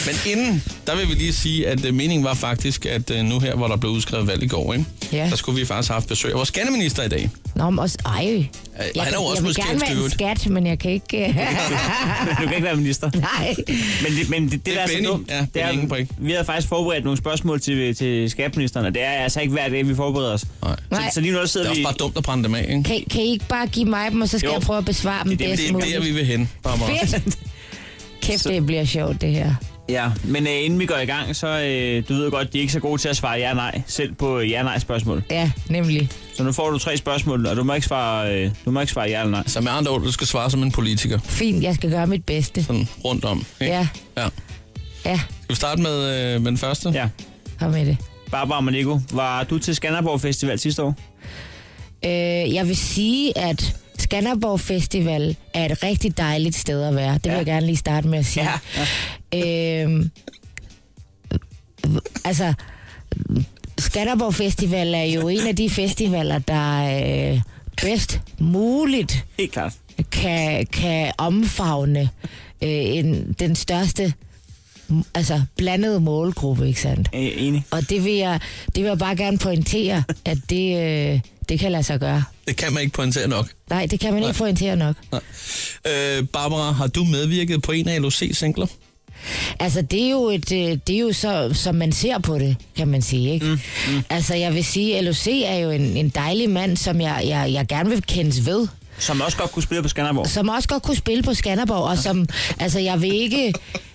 S3: Men inden, der vil vi lige sige, at øh, meningen var faktisk, at øh, nu her, hvor der blev udskrevet valg i går, ikke?
S17: Ja.
S3: der skulle vi faktisk have haft besøg af vores skatteminister i dag. Øh,
S17: Nå, men også, ej. Jeg,
S3: han er jo også
S17: jeg vil
S3: måske
S17: gerne
S3: en
S17: være en
S3: skørt.
S17: skat, men jeg kan ikke... øh,
S4: Men du kan ikke være minister.
S17: Nej.
S4: Men det, men det, det, det der er
S3: Benny.
S4: så dumt,
S3: Ja, Benny Engelbrecht.
S4: vi havde faktisk forberedt nogle spørgsmål til, til skatministeren, og det er altså ikke hver dag, vi forbereder os.
S3: Nej.
S17: Nej.
S4: Så, så lige nu der
S3: Det er
S4: sidder vi...
S3: også bare dumt at brænde dem af, ikke?
S17: Kan, kan I ikke bare give mig dem, og så skal
S3: Jo.
S17: jo. jeg prøve at besvare dem
S3: Det er
S17: bedst
S3: det,
S17: muligt?
S3: der, vi vil hen, Barbara.
S17: Fedt! Kæft, det bliver sjovt, det her.
S4: Ja, men øh, inden vi går i gang, så øh, du ved godt, de er ikke så gode til at svare ja-nej, selv på øh, ja-nej-spørgsmål.
S17: Ja, nemlig.
S4: Så nu får du tre spørgsmål, og du må ikke svare, øh, du må ikke svare ja eller nej.
S3: Så med andre ord, du skal svare som en politiker.
S17: Fint, jeg skal gøre mit bedste.
S3: Sådan rundt om. Ikke?
S17: Ja,
S3: ja.
S17: ja,
S3: Skal vi starte med, øh, med den første?
S4: Ja.
S17: kom med det.
S4: Barbara Manico, var du til Skanderborg Festival sidste år?
S17: Øh, jeg vil sige, at Skanderborg Festival er et rigtig dejligt sted at være. Det vil ja. jeg gerne lige starte med at sige. Ja. Øh, altså, Skanderborg Festival er jo en af de festivaler, der øh, bedst muligt
S4: Helt klart.
S17: kan, kan omfavne øh, en, den største m- altså blandede målgruppe, ikke sandt?
S4: Øh, enig.
S17: Og det vil, jeg, det vil jeg bare gerne pointere, at det, øh, det kan lade sig gøre.
S3: Det kan man ikke pointere nok.
S17: Nej, det kan man ikke pointere nok.
S3: Øh, Barbara, har du medvirket på en af LOC-singler?
S17: Altså, det er jo, et, øh, det er jo så, som man ser på det, kan man sige, ikke? Mm, mm. Altså, jeg vil sige, LOC er jo en, en dejlig mand, som jeg, jeg, jeg gerne vil kendes ved.
S4: Som også godt kunne spille på Skanderborg.
S17: Som også godt kunne spille på Skanderborg, og som, altså, jeg vil ikke,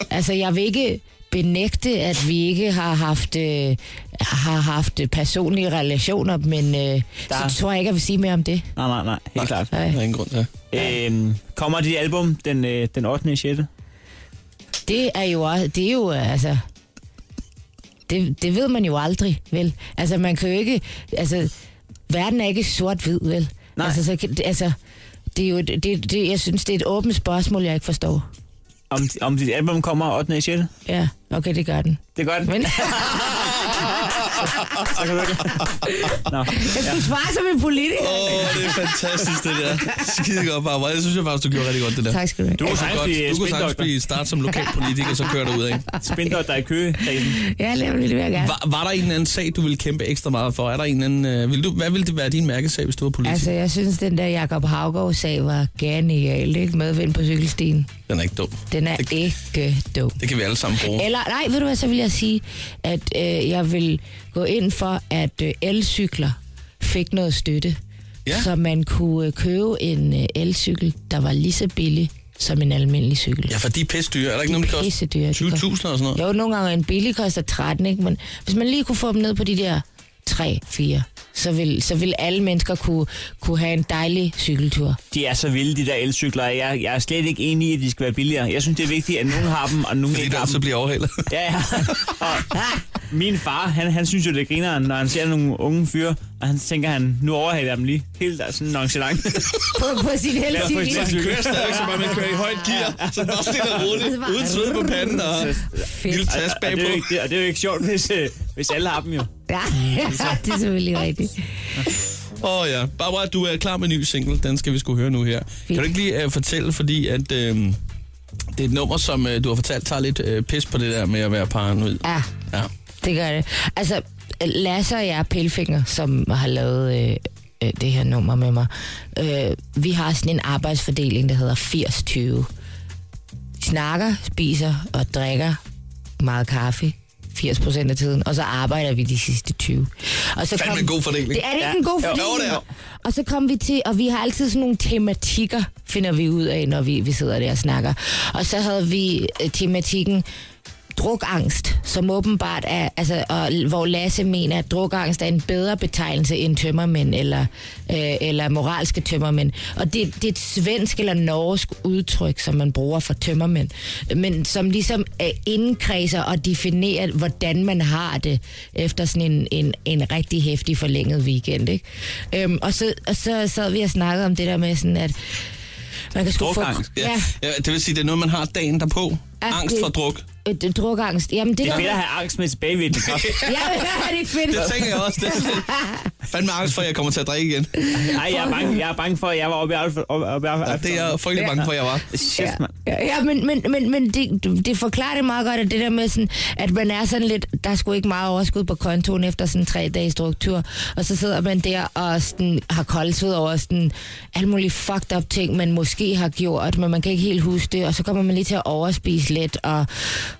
S17: altså, jeg vil ikke benægte, at vi ikke har haft, øh, har haft personlige relationer, men øh,
S4: Der-
S17: så tror jeg ikke, jeg vil sige mere om det.
S4: Nej, nej, nej. Helt nej. klart.
S17: Nej.
S3: Der er ingen grund til.
S4: Øhm, kommer dit album den, øh, den 8. 6.
S17: Det er jo også, det er jo, altså... Det, det ved man jo aldrig, vel? Altså, man kan jo ikke... Altså, verden er ikke sort-hvid, vel?
S4: Nej.
S17: Altså, så, kan- det- altså, det er jo... et- Det, det, jeg synes, det er et åbent spørgsmål, jeg ikke forstår.
S4: Om, om dit album kommer 8. 6.
S17: Ja, okay, det gør den.
S4: Det gør den.
S17: Men
S4: Så kan du ikke. Nå.
S17: jeg skulle svare som en politiker.
S3: Åh, oh, det er fantastisk, det der. Skide godt, Barbara. Jeg synes jeg faktisk, du gjorde rigtig godt det der.
S17: Tak skal du have.
S3: Du kunne
S4: sagtens
S3: sagtens,
S4: blive
S3: du kunne sagtens
S4: spindoktor.
S3: blive start som lokal politiker, så kører du ud, ikke?
S4: Spindot, der er i kø.
S17: Ja, nemlig, det vil jeg gerne.
S3: Var, var der en eller anden sag, du ville kæmpe ekstra meget for? Er der en eller anden, øh, vil du, hvad ville det være din mærkesag, hvis du var politiker?
S17: Altså, jeg synes, den der Jakob Havgaard-sag var genial, ikke? Medvind på cykelstien.
S3: Den er ikke dum.
S17: Altså, Den er ikke dum.
S3: Det kan vi alle sammen bruge.
S17: Eller, nej, ved du hvad, så vil jeg sige, at øh, jeg vil gå ind for, at øh, elcykler fik noget støtte.
S3: Ja.
S17: Så man kunne øh, købe en øh, elcykel, der var lige så billig som en almindelig cykel.
S3: Ja, for de er pisse dyre. Er der ikke
S17: De
S3: nogen,
S17: er
S3: der koster
S17: pissedyre, de
S3: 20.000 eller sådan noget?
S17: Jo, nogle gange en billig koster 13, ikke? men hvis man lige kunne få dem ned på de der 3-4, så vil, så vil alle mennesker kunne, kunne have en dejlig cykeltur.
S4: De er så vilde, de der elcykler. Jeg, jeg er slet ikke enig i, at de skal være billigere. Jeg synes, det er vigtigt, at nogen har dem, og nogen
S3: Fordi
S4: ikke
S3: der
S4: har
S3: altid
S4: dem.
S3: bliver overhalet.
S4: Ja, ja. Og min far, han, han synes jo, det griner, når han ser nogle unge fyre, og han tænker, han nu overhaler jeg dem lige. Helt der, sådan nonchalant.
S17: På, på sin
S4: på sin
S17: elcykel.
S4: elcykel.
S3: kører stadigvæk, så bare man kører i højt gear, så bare stille og roligt,
S17: Altså bare-
S3: uden sved på panden og en
S17: Fedt.
S3: lille tas
S4: og, det er
S3: bagpå.
S4: jo ikke, det, og det er jo ikke sjovt, hvis, øh, hvis alle har dem jo.
S17: Ja, ja, det er selvfølgelig rigtigt.
S3: Åh oh, ja. Barbara, du er klar med en ny single. Den skal vi skulle høre nu her. Kan du ikke lige uh, fortælle, fordi at, uh, det er et nummer, som uh, du har fortalt, tager lidt uh, pis på det der med at være paranoid.
S17: Ja,
S3: Ja.
S17: det gør det. Altså, Lasse og jeg, Pelfinger, som har lavet øh, øh, det her nummer med mig, øh, vi har sådan en arbejdsfordeling, der hedder 80-20. Snakker, spiser og drikker meget kaffe 80% af tiden, og så arbejder vi de sidste 20. Og så
S3: Fandme en god fordeling.
S17: Det er det ikke en god
S3: Ja. Jo,
S17: fordeling?
S3: det er.
S17: Og så kom vi til, og vi har altid sådan nogle tematikker, finder vi ud af, når vi, vi sidder der og snakker. Og så havde vi øh, tematikken drukangst, som åbenbart er, altså, og, l- hvor Lasse mener, at drukangst er en bedre betegnelse end tømmermænd eller, øh, eller moralske tømmermænd. Og det, det er et svensk eller norsk udtryk, som man bruger for tømmermænd, men som ligesom øh, indkredser og definerer, hvordan man har det efter sådan en, en, en rigtig hæftig forlænget weekend. Ikke? Øhm, og, så, og så sad vi og snakkede om det der med sådan, at man kan sgu få...
S3: Drukangst. Ja. Ja. ja. Det vil sige, det er noget, man har dagen derpå.
S17: Ja,
S3: Angst
S17: det-
S3: for druk.
S17: Øh, drukangst. Jamen, det,
S4: Det er
S17: der-
S4: fedt at have angst med tilbagevirkende kraft.
S17: Ja, er det ikke fedt?
S3: Det tænker jeg også. Det er sådan lidt- fandme angst for, at jeg kommer til at drikke igen.
S4: Nej, jeg er bange, jeg er bange for, at jeg var oppe i Alfa. Op, op, op, op,
S3: det er jeg frygtelig bange for, at jeg var.
S4: Shit, mand.
S17: Ja, ja, men, men, men, men det, det forklarer det meget godt, at det der med, sådan, at man er sådan lidt, der er sgu ikke meget overskud på kontoen efter sådan en tre dages struktur, og så sidder man der og sådan, har koldsved over sådan alle mulige fucked up ting, man måske har gjort, men man kan ikke helt huske det, og så kommer man lige til at overspise lidt, og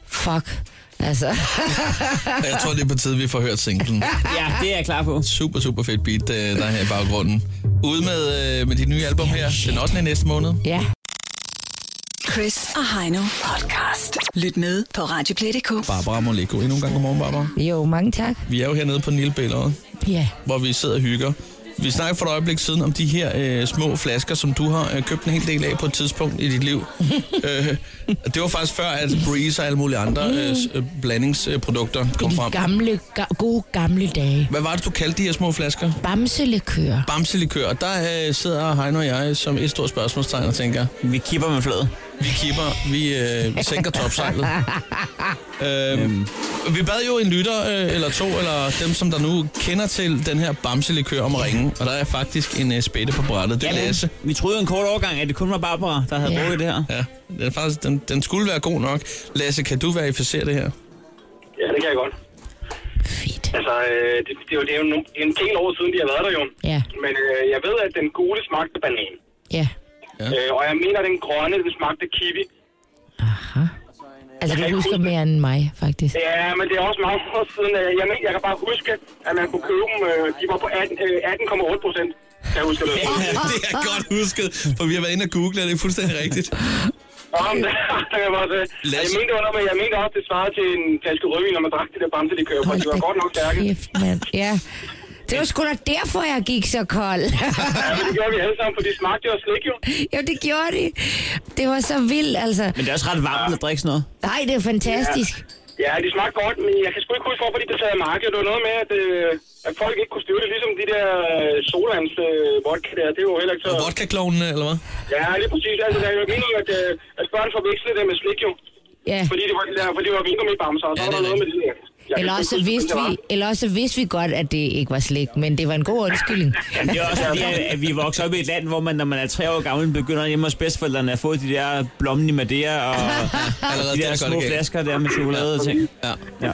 S17: fuck, altså.
S3: Jeg tror, det er på tide, vi får hørt singlen.
S4: Ja, det er jeg klar på.
S3: Super, super fedt beat, øh, der er her i baggrunden. Ude med, øh, med dit nye album her, den 8. i næste måned.
S17: Ja.
S2: Chris og Heino podcast. Lyt med på Radioplay.dk.
S3: Barbara Moleko, endnu en gang godmorgen, Barbara.
S17: Jo, mange tak.
S3: Vi er jo hernede på Nilbæleret,
S17: Ja.
S3: hvor vi sidder og hygger. Vi snakkede for et øjeblik siden om de her øh, små flasker, som du har øh, købt en hel del af på et tidspunkt i dit liv. øh, det var faktisk før, at Breeze og alle mulige
S4: Mm.
S3: andre øh, s- øh, blandingsprodukter kom frem.
S17: Gamle, ga- gode gamle dage.
S3: Hvad var det, du kaldte de her små flasker?
S17: Bamselekør.
S3: Bamselikør. Og der øh, sidder Heino og jeg som et stort spørgsmålstegn og tænker...
S4: Vi kipper med fladet.
S3: Vi kipper. Vi, øh, vi sænker topsejlet. øhm, vi bad jo en lytter, øh, eller to, eller dem, som der nu kender til den her bamselikør om at ringe. Og der er faktisk en øh, spætte på brættet. Det er Lasse.
S4: Vi troede jo en kort overgang, at det kun var Barbara, der havde
S3: Ja.
S4: ja. brugt det her.
S3: Ja, den, er faktisk, den, den skulle være god nok. Lasse, kan du verificere det her?
S18: Ja, det kan jeg godt. Fedt. Altså, øh, det, det, er jo, det er jo nogle- en del år siden, de har været der jo.
S17: Ja.
S18: Men øh, jeg ved, at den gule smagte banan.
S17: Ja.
S3: ja.
S18: Øh, og jeg mener, den grønne, den smagte kiwi.
S17: Altså, du husker mere end mig, faktisk.
S18: Ja, men det er også mange år siden. øh, Jeg, mener, jeg kan bare huske, at man kunne købe dem. Øh, de var på 18, øh, 18,8 procent. Kan jeg huske det?
S3: det er godt husket, for vi har været inde og google, og det er fuldstændig rigtigt.
S18: Om det, det var det. Jeg mente, under, men jeg mente også, det svarede til en flaske rødvin, når man drak det der bamse, de kører. for De var godt nok stærke.
S17: Kæft, mand. Ja. Det var sgu da derfor, jeg gik så kold.
S18: Ja, men det gjorde vi alle sammen, for de smagte jo af slik jo.
S17: jo, det gjorde det. Det var så vildt, altså.
S4: Men det er også ret varmt at drikke sådan noget.
S17: Nej, det er fantastisk.
S18: Ja, de smagte godt, men jeg kan sgu ikke huske, hvorfor de blev taget af markedet. Det var noget med, at, øh, at folk ikke kunne styre det, ligesom de der øh, solands øh, vodka der. Det var jo heller ikke så...
S3: Vodka-klovnene, eller hvad?
S18: Ja, lige præcis. Altså, det er jo ikke meningen, at, øh, at børn forvekslede det med slik jo.
S17: Ja.
S18: Fordi det var, de der, fordi det var vingummibamser, og så var der noget med det der. Jeg kan
S17: Eller
S18: sgu ikke
S17: også,
S18: huske,
S17: vidste
S18: hvordan det
S17: vi,
S18: var.
S17: eller også vidste vi godt, at det ikke var slik, men det var en god undskyldning.
S4: Det er også fordi, at at vi vokser op i et land, hvor man, når man er tre år gammel, begynder hjemme hos bedsteforældrene at få de der blommen i Madeira og
S3: allerede
S4: de der
S3: der går det
S4: små
S3: galt.
S4: flasker der med chokolade og ting.
S3: Ja.
S4: ja.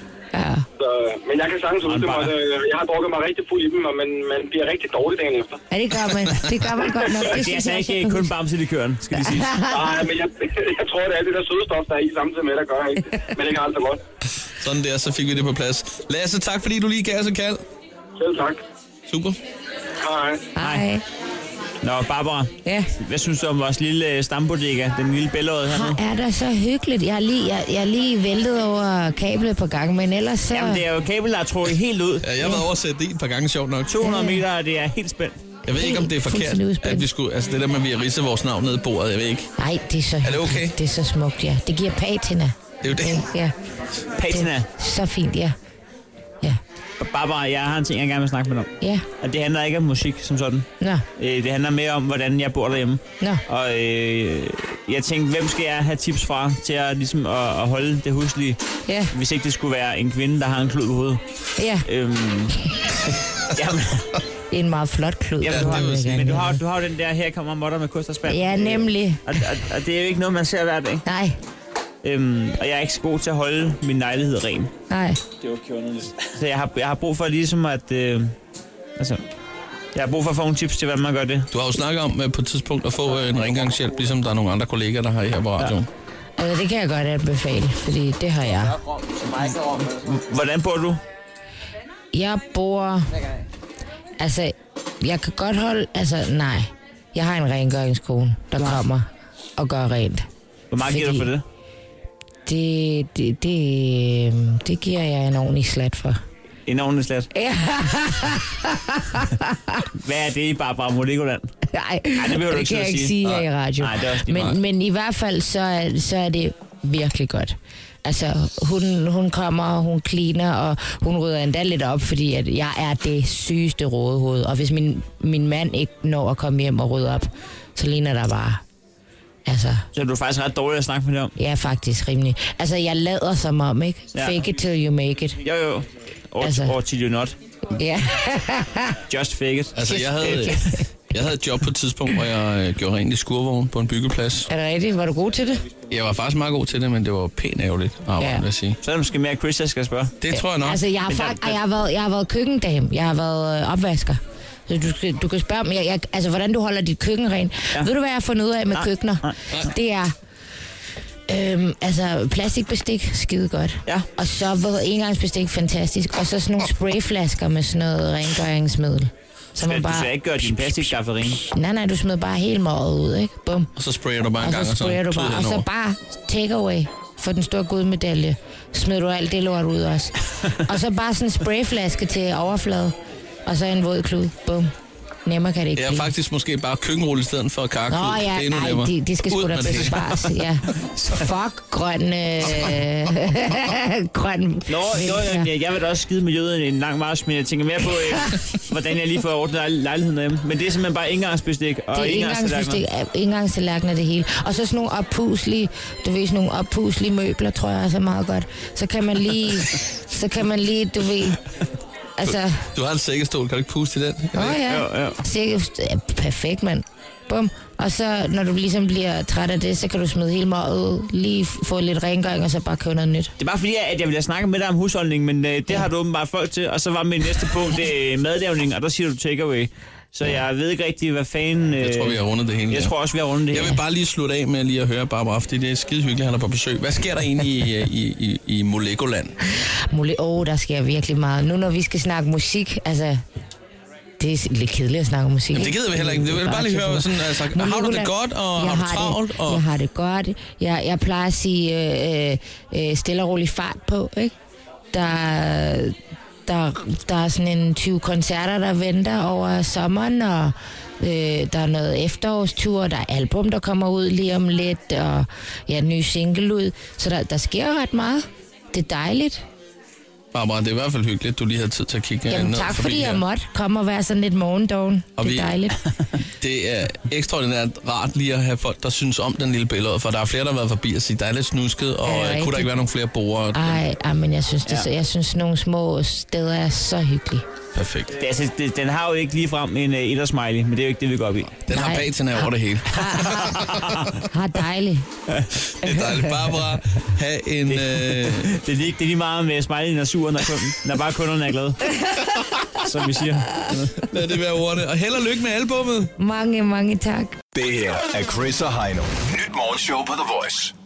S18: Så, øh, men jeg kan sagtens huske dem, og øh, jeg har drukket mig rigtig fuld i dem, og man, man bliver rigtig dårlig dagen efter.
S17: Ja, det gør man. Det gør man godt nok.
S4: Det, det er
S17: synes
S4: altså
S17: jeg også, jeg
S4: ikke
S17: kan
S4: kun
S17: huske.
S4: bamse i køren, skal vi sige.
S18: Nej, men jeg, jeg tror, det er det der søde stof, der er i samtidig med, der gør, ikke? Men det kan altså godt.
S3: Sådan der, så fik vi det på plads. Lasse, tak fordi du lige gav os et kald.
S18: Selv tak.
S3: Super.
S18: Hej.
S17: Hej.
S4: Nå, Barbara.
S17: Ja.
S4: Hvad synes du om vores lille øh, stambodega, den lille bællerød her nu?
S17: Hvor er der så hyggeligt. Jeg er lige, jeg, jeg er lige væltet over kablet på gang, men ellers så...
S4: Jamen, det er jo kabel, der er trukket helt ud.
S3: Ja, jeg har været oversat det et par gange, sjovt nok.
S4: 200 meter, og det er helt spændt.
S3: Jeg ved ikke, om det er forkert,
S17: fuldstændig
S3: at vi skulle... Altså, det der med, at vi har ridset vores navn ned i bordet, jeg ved ikke.
S17: Nej, det er så hyggeligt.
S3: Er det okay?
S17: Det er så smukt, ja. Det giver patina.
S3: Det er jo det.
S17: Ja.
S4: Patina.
S17: Det er Så fint, ja.
S4: Barbara, jeg har en ting, jeg gerne vil snakke med dig om.
S17: Ja.
S4: Og det handler ikke om musik som sådan.
S17: Nå.
S4: Øh, det handler mere om, hvordan jeg bor derhjemme.
S17: Nå.
S4: Og øh, jeg tænkte, hvem skal jeg have tips fra til at, ligesom, at, at holde det huslige,
S17: ja.
S4: hvis Øhm, ikke det skulle være en kvinde, der har en klud på hovedet.
S17: Ja.
S4: Øhm, jamen,
S17: Det er en meget flot klud.
S4: Ja,
S17: du har
S4: men,
S17: den
S4: du har,
S17: igen.
S4: men du, har, du har jo den der, her kommer modder med kost og spand.
S17: Ja,
S4: Øh,
S17: nemlig.
S4: Og, og, og, det er jo ikke noget, man ser hver dag.
S17: Nej.
S4: Øhm, og jeg er ikke så god til at holde min lejlighed ren.
S17: Nej.
S4: Det var kjornerligt. Så jeg har, jeg har brug for ligesom at... Øh, altså, jeg har brug for at få nogle tips til, hvordan man gør det.
S3: Du har jo snakket om øh, på et tidspunkt at få øh, en rengangshjælp, ligesom der er nogle andre kollegaer, der har her på radioen.
S17: Altså, det kan jeg godt anbefale, fordi det har jeg.
S4: Hvordan bor du?
S17: Jeg bor... Altså, jeg kan godt holde... Altså, nej. Jeg har en rengøringskone, der kommer og gør rent.
S4: Hvor meget giver du for det?
S17: Det, det, det, øhm, det giver jeg en ordentlig slat for.
S4: En ordentlig slat. Hvad er det i Barbara Moligoland?
S17: Nej,
S4: det behøver du
S17: det
S4: ikke
S17: kan jeg
S4: sidde og
S17: ikke
S4: sige.
S17: sige her i
S4: Nej.
S17: radio.
S4: Nej, det er også lige meget.
S17: men, men i hvert fald, så er, så er det virkelig godt. Altså, hun, hun kommer, og hun cleaner, og hun rydder endda lidt op, fordi at jeg er det sygeste rådehoved. Og hvis min, min mand ikke når at komme hjem og rydde op, så ligner der bare... Altså,
S4: Så er du faktisk ret dårlig at snakke med dig om.
S17: ja, faktisk rimelig. Altså, jeg lader som om, ikke?
S4: Ja.
S17: Fake it till you make it.
S4: Jo, jo. Or, altså.
S17: Altså.
S4: or till you not.
S17: Ja.
S4: Just fake it.
S3: Altså, jeg havde, jeg havde et job på et tidspunkt, hvor jeg øh, gjorde rent i skurvogn på en byggeplads.
S17: er det rigtigt? Var du god til det?
S3: Jeg var faktisk meget god til det, men det var pænt ærgerligt arbejde,
S17: Ja.
S3: ja. vil jeg sige.
S4: Så er det måske mere Chris, jeg skal spørge.
S3: Det tror jeg nok.
S17: Altså, jeg har, fakt, jeg har, været, jeg har været køkkendame. Jeg har været øh, opvasker. Så du, skal, du kan spørge mig, jeg, jeg, altså, hvordan du holder dit køkken rent. Ja. Ved du, hvad jeg har fundet ud af med
S4: Nej,
S17: køkkener?
S4: nej, nej.
S17: Det er... Øhm, altså plastikbestik, skide godt.
S4: Ja.
S17: Og så ved engangsbestik, fantastisk. Og så sådan nogle sprayflasker med sådan noget rengøringsmiddel. Så
S4: Skal, Du skal ikke gøre din plastikskaffe rene.
S17: Nej, nej, du smider bare hele meget ud, ikke? Bum.
S3: Og så sprayer du bare en
S17: og
S3: gang,
S17: så sprayer
S3: og
S17: du
S3: så
S17: bare, og så bare takeaway for den store guldmedalje. Smider du alt det lort ud også. og så bare sådan en sprayflaske til overflade, og så en våd klud. Bum. Nemmere kan det ikke
S3: Jeg
S17: blive.
S3: er faktisk måske bare køkkenrulle i stedet for karklud.
S17: Nå ja,
S3: det er endnu
S17: nej,
S3: nemmere.
S17: det, det skal sgu
S3: Ud
S17: da
S3: med det.
S17: bespares. Ja. Fuck grøn... Øh, grøn...
S4: Nå, jo,
S17: vinter.
S4: jeg, jeg vil da også skide miljøet en lang march, men jeg tænker mere på, øh, hvordan jeg lige får ordnet lej- lejligheden hjemme. Men det er simpelthen bare engangsbestik og
S17: Det er
S4: engangstallerkener.
S17: engangsbestik, engangstallerkener det hele. Og så sådan nogle oppuslige, du ved, sådan nogle oppuslige møbler, tror jeg også er meget godt. Så kan man lige, så kan man lige, du ved, altså...
S3: Du har en sækkestol, kan du ikke puste i den?
S17: Åh oh, ja. Cirka, ja, perfekt, mand. Bum. Og så, når du ligesom bliver træt af det, så kan du smide hele meget ud, lige f- få lidt rengøring, og så bare købe noget nyt.
S4: Det er bare fordi, at jeg ville have snakket med dig om husholdning, men øh, det har du åbenbart folk til. Og så var min næste punkt øh, madlavning, og der siger du takeaway. Så jeg ved ikke rigtig, hvad fanden... Øh,
S3: Jeg tror, vi har rundet det hele.
S4: Jeg
S3: ja.
S4: tror også, vi har rundet det
S3: Jeg
S4: hele.
S3: vil bare lige slutte af med lige at høre Barbara, fordi det er skide hyggeligt, han er på besøg. Hvad sker der egentlig i, øh, i, i, i Molegoland?
S17: Mulig, åh, oh, der sker virkelig meget. Nu når vi skal snakke musik, altså... Det er lidt kedeligt at snakke om musik.
S3: Jamen, det
S17: ikke?
S3: gider vi heller ikke. Jeg vil bare lige høre, sådan, altså,
S17: Men
S3: har du det
S17: Nicolaj,
S3: godt, og
S17: jeg
S3: har du travlt?
S17: Det,
S3: Og...
S17: Jeg har det godt. Jeg, jeg plejer at sige øh, øh, stille og rolig fart på, ikke? Der, der, der er sådan en 20 koncerter, der venter over sommeren, og øh, der er noget efterårstur, der er album, der kommer ud lige om lidt, og ja, en ny single ud. Så der, der sker ret meget. Det er dejligt.
S3: Barbara, det er i hvert fald hyggeligt, du lige har tid til at kigge øh,
S17: Jamen
S3: ned
S17: tak,
S3: forbi
S17: fordi
S3: her.
S17: jeg måtte komme og være sådan lidt morgendoven.
S3: Og
S17: Det
S3: vi-
S17: er dejligt.
S3: Det er ekstraordinært rart lige at have folk, der synes om den lille billede, for der er flere, der har været forbi og sige, der er lidt snusket, og
S17: Ja,
S3: ja, kunne
S17: rigtigt.
S3: der ikke være nogle flere borgere?
S17: Ej, ej, men jeg synes, det, er så- jeg synes, nogle små steder er så hyggelige.
S3: Perfekt.
S4: Det, er altså, det, den har jo ikke ligefrem en øh, ettersmiley, men det er jo ikke det, vi går op i.
S3: Den har
S17: Nej.
S3: patina over det hele.
S17: Har dejligt.
S3: Det er dejligt. Barbara, have en... Øh...
S4: Det er lige, det er lige meget med smileyen og suren, når, kunden, når bare kunderne er glade. Som vi siger.
S3: Lad det være ordene. Og held og lykke med albummet.
S17: Mange, mange tak.
S5: Det her er Chris og Heino. Nyt morgenshow på The Voice.